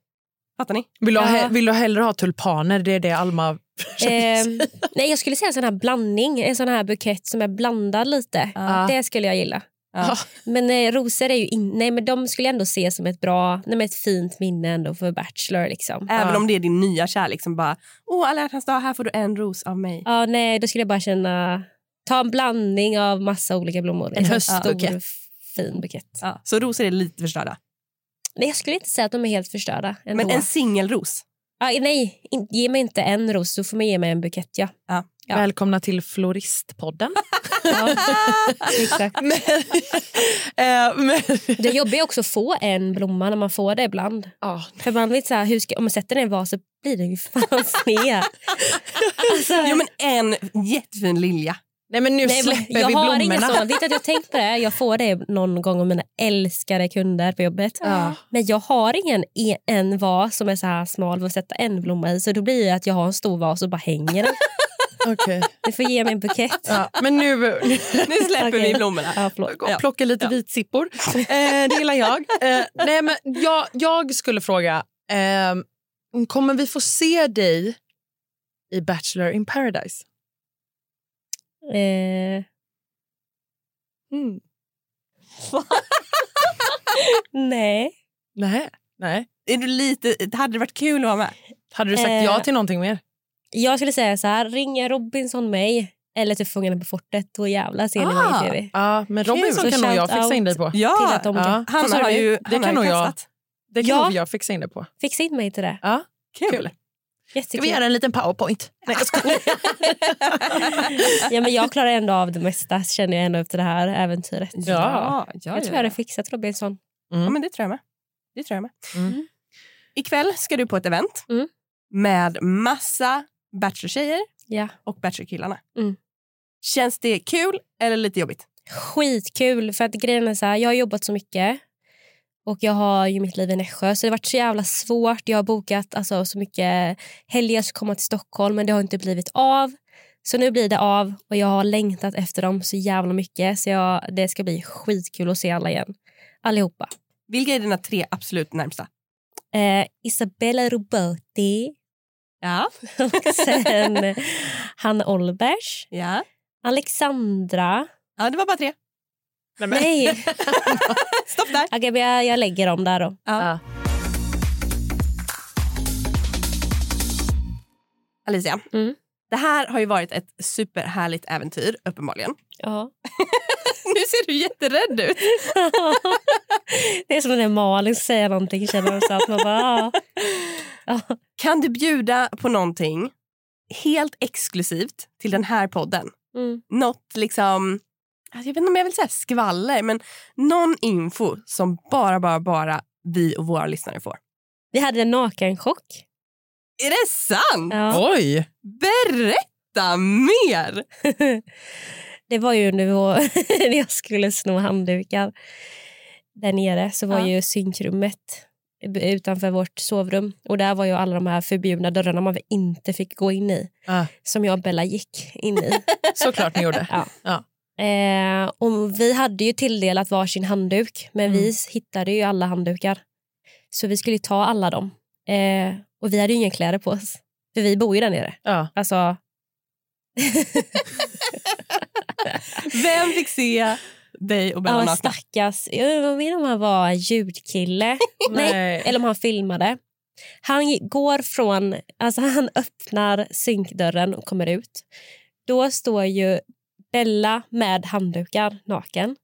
Speaker 3: fattar ni?
Speaker 2: Vill, du ha,
Speaker 11: Ja.
Speaker 2: vill du hellre ha tulpaner? Det är det Alma försöker
Speaker 11: Ehm, nej, jag skulle säga en sån här blandning, en sån här bukett som är blandad lite.
Speaker 2: Ja.
Speaker 11: Det skulle jag gilla.
Speaker 3: Ja.
Speaker 11: Men eh, rosor är ju in, nej, men de skulle jag ändå se som ett bra, nej, men ett fint minne ändå för Bachelor. Liksom.
Speaker 3: Även
Speaker 2: Ja.
Speaker 3: om det är din nya kärlek som bara, åh alla hjärtans dag, här får du en ros av mig.
Speaker 11: Ja, nej, då skulle jag bara känna... Ta en blandning av massa olika blommor.
Speaker 2: En
Speaker 11: Stor,
Speaker 2: höstbukett.
Speaker 11: f- fin bukett.
Speaker 3: Ja. Så rosor är lite förstörda.
Speaker 11: Nej, jag skulle inte säga att de är helt förstörda. Ändå.
Speaker 3: Men en singelros,
Speaker 11: ja, nej, in, ge mig inte en ros. Du får man ge mig en bukett. Ja. Ja.
Speaker 2: Välkomna till Floristpodden.
Speaker 11: Ja, exakt.
Speaker 2: men, eh, men,
Speaker 11: Det jobbiga är också att få en blomma när man får det ibland.
Speaker 2: ja.
Speaker 11: För man vet så här, hur ska, om man sätter den i en vas så blir den ju fan sned. Alltså,
Speaker 3: Jo, men en jättefin lilja.
Speaker 2: Nej, men nu
Speaker 11: nej, men
Speaker 2: släpper
Speaker 11: jag
Speaker 2: vi
Speaker 11: har inga
Speaker 2: blommorna.
Speaker 11: sådana. Vet du att jag har tänkt på det? Jag får det någon gång av mina älskade kunder på jobbet.
Speaker 2: Ja.
Speaker 11: Men jag har ingen e- en vas som är så här smal att sätta en blomma i. Så då blir det att jag har en stor vas och bara hänger den.
Speaker 2: Okej.
Speaker 11: Du får ge mig en bukett.
Speaker 2: Ja, men nu, nu
Speaker 3: Nu släpper
Speaker 11: Okej.
Speaker 3: vi blommorna.
Speaker 11: Ja, förlåt.
Speaker 3: Ja.
Speaker 2: plockar lite
Speaker 3: Ja.
Speaker 2: vitsippor. Eh, det gillar jag. Eh, nej, men jag. Jag skulle fråga, eh, Kommer vi få se dig i Bachelor in paradise?
Speaker 11: Eh,
Speaker 2: Mm.
Speaker 11: nej.
Speaker 2: Nej. Nej.
Speaker 3: Är du lite, hade det varit kul att vara med?
Speaker 2: Hade du sagt
Speaker 11: Eh.
Speaker 2: ja till någonting mer?
Speaker 11: Jag skulle säga så här, ringer Robinson mig eller typ Fångarna på fortet, då jävlar ser ni
Speaker 3: Ah.
Speaker 11: mig i tv.
Speaker 2: Ja, men Robinson
Speaker 11: Så
Speaker 2: kan nog jag
Speaker 11: shout
Speaker 2: fixa in
Speaker 11: out
Speaker 2: dig på.
Speaker 11: Till
Speaker 3: Ja,
Speaker 11: att de
Speaker 2: Ja.
Speaker 11: kan.
Speaker 3: han
Speaker 11: Vad sa
Speaker 3: har
Speaker 11: du?
Speaker 3: ju
Speaker 2: Det kan nog jag.
Speaker 3: kastat.
Speaker 2: Det kan
Speaker 11: Ja.
Speaker 2: nog jag fixa in dig på.
Speaker 11: Fixa in mig till det.
Speaker 2: Ja.
Speaker 3: Kul.
Speaker 2: Ska
Speaker 11: Jättekul.
Speaker 2: vi göra en liten powerpoint? Nej, jag skojar.
Speaker 11: ja, men jag klarar ändå av det mesta känner jag ändå efter det här äventyret.
Speaker 3: Ja, ja,
Speaker 11: Jag tror jag
Speaker 3: ja.
Speaker 11: hade fixat Robinson.
Speaker 3: Ja, men det tror jag med. Det tror jag med.
Speaker 2: Mm.
Speaker 3: Ikväll ska du på ett event
Speaker 11: Mm.
Speaker 3: med massa bachelor-tjejer
Speaker 11: Ja.
Speaker 3: och bachelor-killarna.
Speaker 11: Mm.
Speaker 3: Känns det kul eller lite jobbigt?
Speaker 11: Skitkul för att grejen är så här, jag har jobbat så mycket och jag har ju mitt liv i Nässjö så det har varit så jävla svårt. Jag har bokat alltså, så mycket helger jag ska komma till Stockholm men det har inte blivit av. Så nu blir det av och jag har längtat efter dem så jävla mycket så jag, det ska bli skitkul att se alla igen. Allihopa.
Speaker 3: Vilka är dina tre absolut närmsta?
Speaker 11: Eh, Isabella Roberti
Speaker 3: Ja.
Speaker 11: och sen Hanna Olbers,
Speaker 3: ja.
Speaker 11: Alexandra.
Speaker 3: Ja, det var bara tre.
Speaker 11: Nej,
Speaker 3: Stopp där.
Speaker 11: Okej, men jag, jag lägger dem där då.
Speaker 2: Ja.
Speaker 3: Alicia,
Speaker 11: Mm.
Speaker 3: det här har ju varit ett superhärligt äventyr, uppenbarligen.
Speaker 11: Ja.
Speaker 3: Nu ser du jätterädd ut.
Speaker 11: det är som när Malin säger någonting känner man så att man bara... "Ah." Ja.
Speaker 3: Kan du bjuda på någonting helt exklusivt till den här podden?
Speaker 11: Mm.
Speaker 3: Något liksom, alltså jag vet inte om jag vill säga skvaller, men någon info som bara, bara, bara vi och våra lyssnare får.
Speaker 11: Vi hade en nakenchock.
Speaker 3: Är det sant?
Speaker 11: Ja.
Speaker 2: Oj!
Speaker 3: Berätta mer!
Speaker 11: det var ju nu när jag skulle sno handdukar där nere så var
Speaker 3: Ja.
Speaker 11: ju synkrummet utanför vårt sovrum och där var ju alla de här förbjudna dörrarna man inte fick gå in i
Speaker 2: Ja.
Speaker 11: som jag och Bella gick in i.
Speaker 2: Såklart ni gjorde.
Speaker 11: Ja. Eh, och vi hade ju tilldelat varsin handduk, men
Speaker 2: Mm.
Speaker 11: vi hittade ju alla handdukar. Så vi skulle ju ta alla dem. Eh, och vi hade ju inga kläder på oss, för vi bor ju där nere.
Speaker 2: Ja.
Speaker 11: Alltså,
Speaker 3: Vem fick se dig och Bella
Speaker 11: ja,
Speaker 3: nakna?
Speaker 11: stackars. Jag undrar om han var en ljudkille,
Speaker 2: Nej.
Speaker 11: eller om han filmade. Han gi- går från, alltså han öppnar synkdörren och kommer ut. Då står ju Bella med handdukar naken.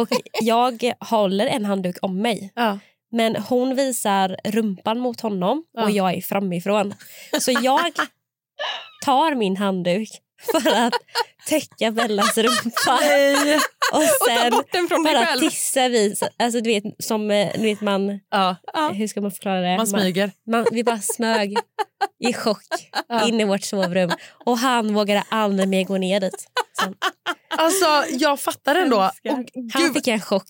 Speaker 11: Och jag håller en handduk om mig.
Speaker 2: Ja.
Speaker 11: Men hon visar rumpan mot honom
Speaker 2: Ja.
Speaker 11: och jag är framifrån. Så jag tar min handduk för att täcka Bellas rumpa. Och
Speaker 3: Ta
Speaker 11: sen
Speaker 3: bort den från dig
Speaker 11: bara
Speaker 3: själv.
Speaker 11: tissar vi. Alltså, du vet, som, eh, du vet man,
Speaker 2: Ja.
Speaker 11: hur ska man förklara det?
Speaker 2: Man smyger.
Speaker 11: man, vi bara smög i chock in i vårt sovrum. Och han vågade aldrig mer gå ner dit. Så
Speaker 2: Alltså, jag fattar ändå.
Speaker 3: Älskar.
Speaker 2: Och,
Speaker 11: han
Speaker 2: gud,
Speaker 11: fick en chock.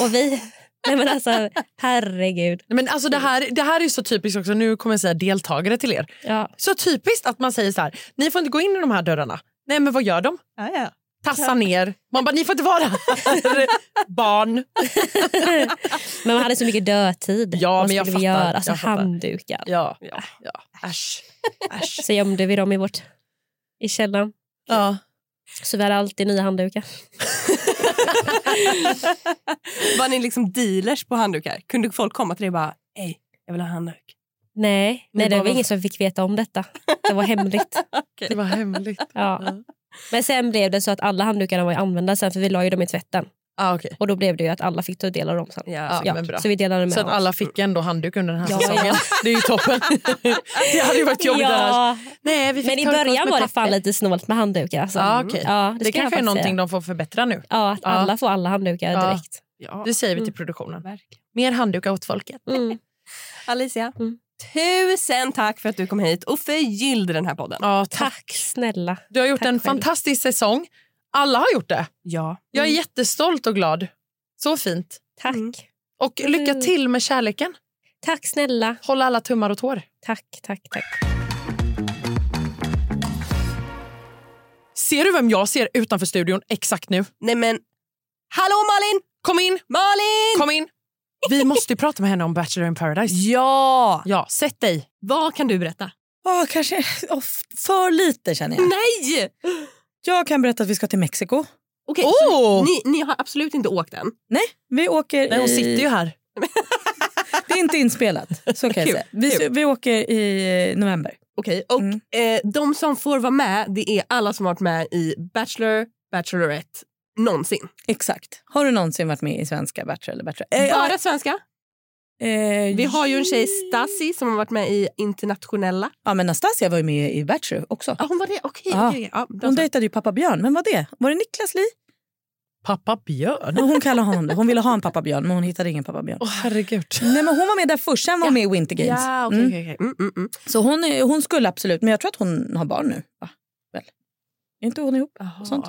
Speaker 11: Och vi... Nej men alltså, herregud.
Speaker 2: men alltså det, här, det här är ju så typiskt också, nu kommer jag säga deltagare till er.
Speaker 11: Ja.
Speaker 2: Så typiskt att man säger så här, ni får inte gå in i de här dörrarna. Nej men vad gör de?
Speaker 3: Ja, ja.
Speaker 2: Tassar ner. Man bara, ni får inte vara här. Barn.
Speaker 11: Men man hade så mycket dödtid.
Speaker 2: Ja,
Speaker 11: Vad
Speaker 2: men jag
Speaker 11: skulle vi
Speaker 2: fattar.
Speaker 11: göra? Alltså
Speaker 2: Jag fattar.
Speaker 11: handdukar.
Speaker 2: Ja.
Speaker 3: Ja.
Speaker 2: ja. Äsch. Äsch.
Speaker 11: Så gömde vi dem i, vårt, i källaren.
Speaker 2: Ja.
Speaker 11: Så vi hade alltid nya handdukar.
Speaker 3: Var ni liksom dealers på handdukar? Kunde folk komma till dig och bara Hej, jag vill ha handduk?
Speaker 11: Nej,
Speaker 2: Ni
Speaker 11: nej det
Speaker 2: bara
Speaker 11: var
Speaker 2: var-
Speaker 11: ingen som fick veta om detta. Det var hemligt.
Speaker 2: Det var hemligt.
Speaker 11: Ja.
Speaker 2: Mm.
Speaker 11: Men sen blev det så att alla handdukarna var ju använda sen för vi la ju dem i tvätten.
Speaker 2: Ah, okay.
Speaker 11: Och då blev det ju att alla fick ta del av dem sen.
Speaker 2: Ja, men bra.
Speaker 11: Så vi delade med
Speaker 2: Så att
Speaker 11: oss.
Speaker 2: alla fick ändå handduk under den här
Speaker 11: Ja,
Speaker 2: säsongen.
Speaker 11: ja.
Speaker 2: Det är ju toppen. det hade ju varit jobbigt annars.
Speaker 11: ja,
Speaker 2: Nej, vi fick
Speaker 11: Men i
Speaker 2: torka oss
Speaker 11: början
Speaker 2: med
Speaker 11: var det
Speaker 2: papper.
Speaker 11: fan lite snålt med handdukar. Alltså.
Speaker 2: Ja, okej.
Speaker 11: ja,
Speaker 2: Det,
Speaker 11: ska jag
Speaker 2: kanske är
Speaker 11: faktiskt
Speaker 2: någonting
Speaker 11: säga.
Speaker 2: de får förbättra nu.
Speaker 11: Ja, att
Speaker 2: Ja.
Speaker 11: alla får alla handdukar
Speaker 2: Ja.
Speaker 11: direkt.
Speaker 3: Ja,
Speaker 2: Det säger vi till produktionen. Mer handdukar åt folket.
Speaker 11: Mm.
Speaker 3: Alicia,
Speaker 11: Mm.
Speaker 3: tusen tack för att du kom hit och förgyllde den här podden.
Speaker 2: Ja, tack.
Speaker 11: Tack snälla.
Speaker 2: Du har gjort
Speaker 11: Tack
Speaker 2: en
Speaker 11: själv.
Speaker 2: fantastisk säsong. Alla har gjort det.
Speaker 3: Ja.
Speaker 2: Jag är jättestolt och glad. Så fint.
Speaker 11: Mm. Tack.
Speaker 3: Mm.
Speaker 2: Och lycka till med kärleken.
Speaker 11: Tack snälla.
Speaker 2: Håll alla tummar och tår.
Speaker 11: Tack, tack, tack.
Speaker 2: Ser du vem jag ser utanför studion exakt nu?
Speaker 3: Nej men, hallå Malin!
Speaker 2: Kom in!
Speaker 3: Malin!
Speaker 2: Kom in! Vi måste ju prata med henne om Bachelor in paradise.
Speaker 12: Ja!
Speaker 2: Ja, sätt dig.
Speaker 11: Vad kan du berätta?
Speaker 12: Åh, kanske åh, f- för lite känner jag.
Speaker 3: Nej!
Speaker 12: Jag kan berätta att vi ska till Mexiko.
Speaker 3: Okej,
Speaker 2: Åh!
Speaker 3: så ni, ni har absolut inte åkt än?
Speaker 12: Vi åker
Speaker 2: Nej, hon
Speaker 12: i-
Speaker 2: sitter ju här.
Speaker 12: Det är inte inspelat. Så kan jag
Speaker 3: Kul,
Speaker 12: säga. Vi, vi åker i november.
Speaker 3: Okej, och
Speaker 12: Mm.
Speaker 3: eh, de som får vara med det är alla som varit med i Bachelor, Bachelorette, någonsin.
Speaker 12: Exakt. Har du någonsin varit med i svenska Bachelor eller Bachelor?
Speaker 3: Bara svenska.
Speaker 12: eh,
Speaker 3: Vi har ju en tjej, Stasi, som har varit med i internationella.
Speaker 12: Ja, men Nastasia var ju med i Bachelor också.
Speaker 3: Ja, hon var det? Okej.
Speaker 12: Ja.
Speaker 3: okej, okej. Ja, då
Speaker 12: Hon
Speaker 3: så.
Speaker 12: dejtade ju pappa Björn. Vem var det? Var det Niklas Li?
Speaker 2: Pappa Björn.
Speaker 12: Hon kallade honom det. Hon ville ha en pappa Björn, men hon hittade ingen pappa Björn.
Speaker 2: Åh, herregud.
Speaker 12: Nej, men hon var med där först, sen var hon med i Winter Games.
Speaker 3: Ja, okej,
Speaker 12: Mm.
Speaker 3: okej, okej. Mm, mm, mm.
Speaker 12: Så hon, är, hon skulle absolut, men jag tror att hon har barn nu. Va? Väl? Är inte hon ihop?
Speaker 3: Jaha.
Speaker 12: Sånt.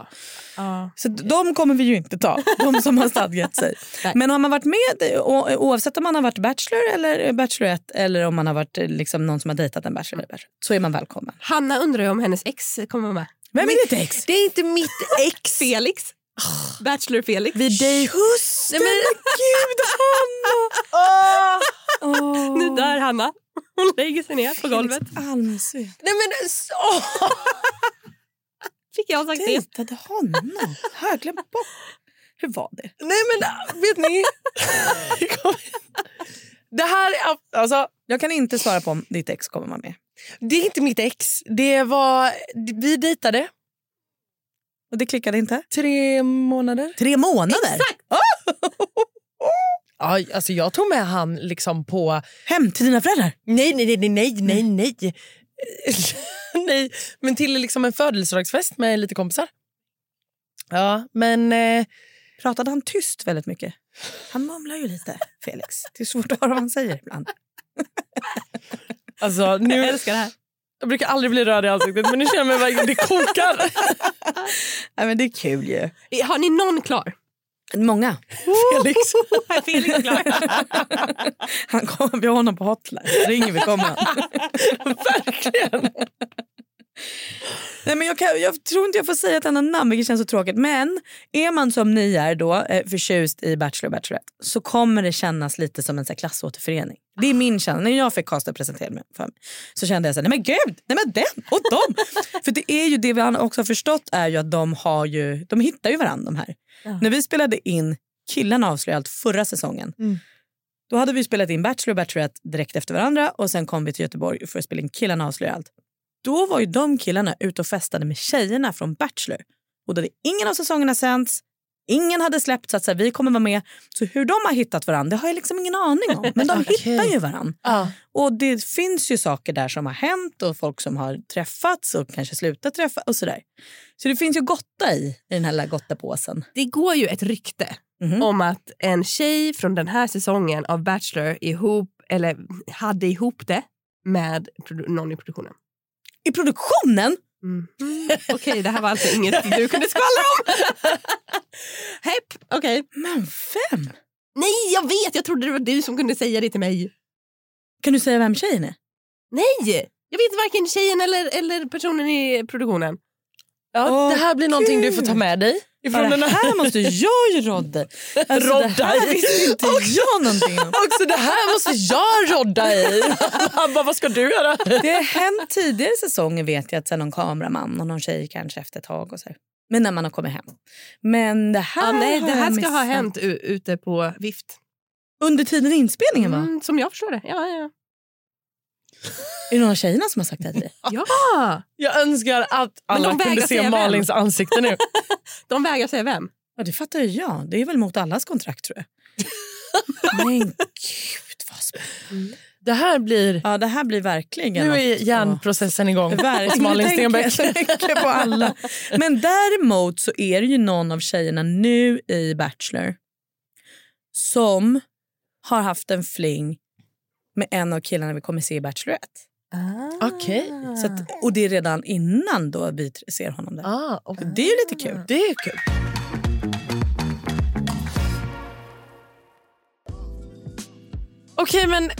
Speaker 3: Ja.
Speaker 12: Så de kommer vi ju inte ta, de som har stadgat sig.
Speaker 3: Nej.
Speaker 12: Men har man varit med, o- oavsett om man har varit bachelor eller bachelorette eller om man har varit eh, liksom, någon som har dejtat en bachelor, eller bachelor så är man välkommen.
Speaker 3: Hanna undrar ju om hennes ex kommer med.
Speaker 12: Vem är ditt ex?
Speaker 3: Det är inte mitt ex! Felix. Bachelor Felix.
Speaker 2: Vi dej-
Speaker 12: Just det, men gud Hanna! Åh.
Speaker 3: Nu dör Hanna. Hon lägger sig ner på golvet.
Speaker 12: Almsved
Speaker 2: Nej, men, åh!
Speaker 3: Fick jag sagt det?
Speaker 12: dejtade honom. Har jag glömt bort? Hur var det?
Speaker 2: Nej men vet ni? det här är, alltså,
Speaker 12: Jag kan inte svara på om ditt ex kommer man med.
Speaker 2: det är inte mitt ex. Det var, vi dejtade
Speaker 12: Och det klickade inte?
Speaker 2: tre månader.
Speaker 12: Tre månader? Ah!
Speaker 2: Ja, alltså jag tog med han liksom på...
Speaker 12: Hem till dina föräldrar?
Speaker 2: Nej, nej, nej, nej, nej, nej. nej, men till liksom en födelsedagsfest med lite kompisar. Ja, men... Eh,
Speaker 12: Pratade han tyst väldigt mycket? Han mumlar ju lite, Felix. Det är svårt att höra vad han säger ibland.
Speaker 2: alltså, nu, jag älskar det här. Jag brukar aldrig bli röd i ansiktet, men nu känner jag mig verkligen... Det kokar.
Speaker 12: Nej, men det är kul ju.
Speaker 3: Har ni någon klar?
Speaker 12: Många.
Speaker 2: Felix.
Speaker 3: Felix klar.
Speaker 12: Han kom, vi har honom på hotline. Ringer vi kommer han.
Speaker 2: Verkligen.
Speaker 12: Nej, men jag, kan, jag tror inte jag får säga ett annat namn, vilket känns så tråkigt. Men är man som ni är då, eh, förtjust i Bachelor och Bachelorette så kommer det kännas lite som en så här, klassåterförening. Det är min känsla. När jag fick Karlstad presenterad mig för mig så kände jag så här, nej men gud, nej men den och de. för det är ju det vi har också har förstått är ju att de, har ju, de hittar ju varandra de här. När vi spelade in Killarna avslöjar allt förra säsongen
Speaker 2: Mm.
Speaker 12: då hade vi spelat in Bachelor och Bachelorette direkt efter varandra och sen kom vi till Göteborg för att spela in Killarna avslöjar allt. Då var ju de killarna ute och festade med tjejerna från Bachelor. Och då hade ingen av säsongerna sänts, ingen hade släppt så att så här, vi kommer vara med. Så hur de har hittat varandra det har jag liksom ingen aning om. Men de
Speaker 2: Okej.
Speaker 12: hittar ju varandra.
Speaker 2: Ja.
Speaker 12: Och det finns ju saker där som har hänt och folk som har träffats och kanske slutat träffa och sådär. Så det finns ju gotta i, i den här lilla gottapåsen.
Speaker 3: Det går ju ett rykte
Speaker 12: Mhm.
Speaker 3: om att en tjej från den här säsongen av Bachelor ihop, eller hade ihop det med produ- någon i produktionen.
Speaker 12: I produktionen?
Speaker 3: Mm. Okej, det här var alltså inget du kunde skvallra om. Hepp, okej.
Speaker 12: Men vem?
Speaker 3: Nej, jag vet! Jag trodde det var du som kunde säga det till mig.
Speaker 12: Kan du säga vem tjejen är?
Speaker 3: Nej! Jag vet varken tjejen eller, eller personen i produktionen.
Speaker 2: Ja,
Speaker 12: Åh,
Speaker 2: det här blir någonting du får ta med dig.
Speaker 12: Bara,
Speaker 2: Ifrån den
Speaker 12: det
Speaker 2: här.
Speaker 12: här måste jag ju rodda alltså,
Speaker 2: Rodda
Speaker 12: Det här
Speaker 2: i.
Speaker 12: visste inte jag någonting om.
Speaker 2: Också det här måste jag rodda i. Han bara, vad ska du göra?
Speaker 12: Det har hänt tidigare säsonger vet jag att sen någon kameraman och någon tjej kanske efter ett tag och så här. Men när man har kommit hem. Men det här
Speaker 3: Ja, nej,
Speaker 12: har
Speaker 3: Ah, det här
Speaker 12: jag
Speaker 3: ska ha
Speaker 12: missat.
Speaker 3: hänt u- ute på vift.
Speaker 12: Under tiden i inspelningen va?
Speaker 3: Mm, som jag förstår det. Ja, ja.
Speaker 12: Är det någon av tjejerna som har sagt det här till dig?
Speaker 3: ja.
Speaker 2: Jag önskar att alla
Speaker 3: de vägrar
Speaker 2: kunde
Speaker 3: säga
Speaker 2: se
Speaker 3: vem.
Speaker 2: Malins ansikte nu.
Speaker 3: De vägrar säga vem.
Speaker 12: Ja, det fattar ju jag. Det är väl mot allas kontrakt tror jag. Men gud vad spännande.
Speaker 2: Det här blir...
Speaker 12: Ja, det här blir verkligen
Speaker 2: Nu är
Speaker 12: något att-
Speaker 2: hjärnprocessen igång hos Malin Stenbeck.
Speaker 12: tänker jag mycket på alla. Men däremot så är det ju någon av tjejerna nu i Bachelor som har haft en fling med en av killarna vi kommer se i Bachelorette.
Speaker 2: Okej.
Speaker 12: Så att, och det är redan innan då vi tr- ser honom där.
Speaker 2: Ah, och
Speaker 12: Det är ju lite kul.
Speaker 2: Det är kul. Okej, men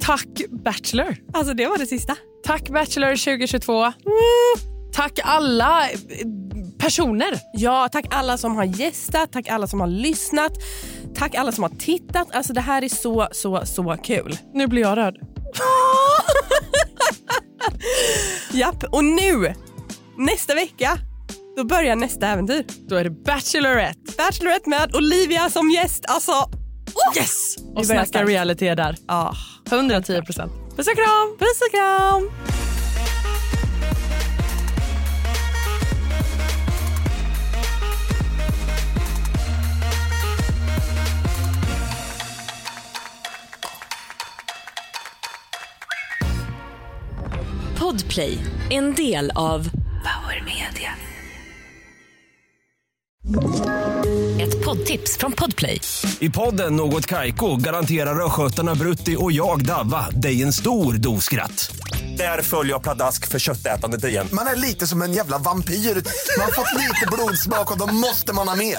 Speaker 2: tack Bachelor.
Speaker 3: Alltså det var det sista.
Speaker 2: Tack Bachelor 2022. Tack alla eh, personer.
Speaker 3: Ja, tack alla som har gästat, tack alla som har lyssnat.
Speaker 2: tack alla som har tittat. Alltså det här är så, så, så kul.
Speaker 3: Nu blir jag rörd.
Speaker 2: Japp, och nu, nästa vecka, då börjar nästa äventyr.
Speaker 3: Då är det Bachelorette.
Speaker 2: Bachelorette med Olivia som gäst. Alltså,
Speaker 3: Yes!
Speaker 2: Vi
Speaker 3: Och
Speaker 2: börjar
Speaker 3: snacka
Speaker 2: starkt.
Speaker 3: reality är där.
Speaker 2: ah.
Speaker 3: 110 procent.
Speaker 2: puss och kram! Puss och kram!
Speaker 12: Podplay, en del av Power Media. Ett poddtips från Podplay.
Speaker 13: I podden Något Kaiko garanterar östgötarna Brutti och jag, Davva, dig en stor dos skratt. Där följer jag pladask för köttätandet igen.
Speaker 4: Man är lite som en jävla vampyr. Man har fått lite blodsmak och då måste man ha mer.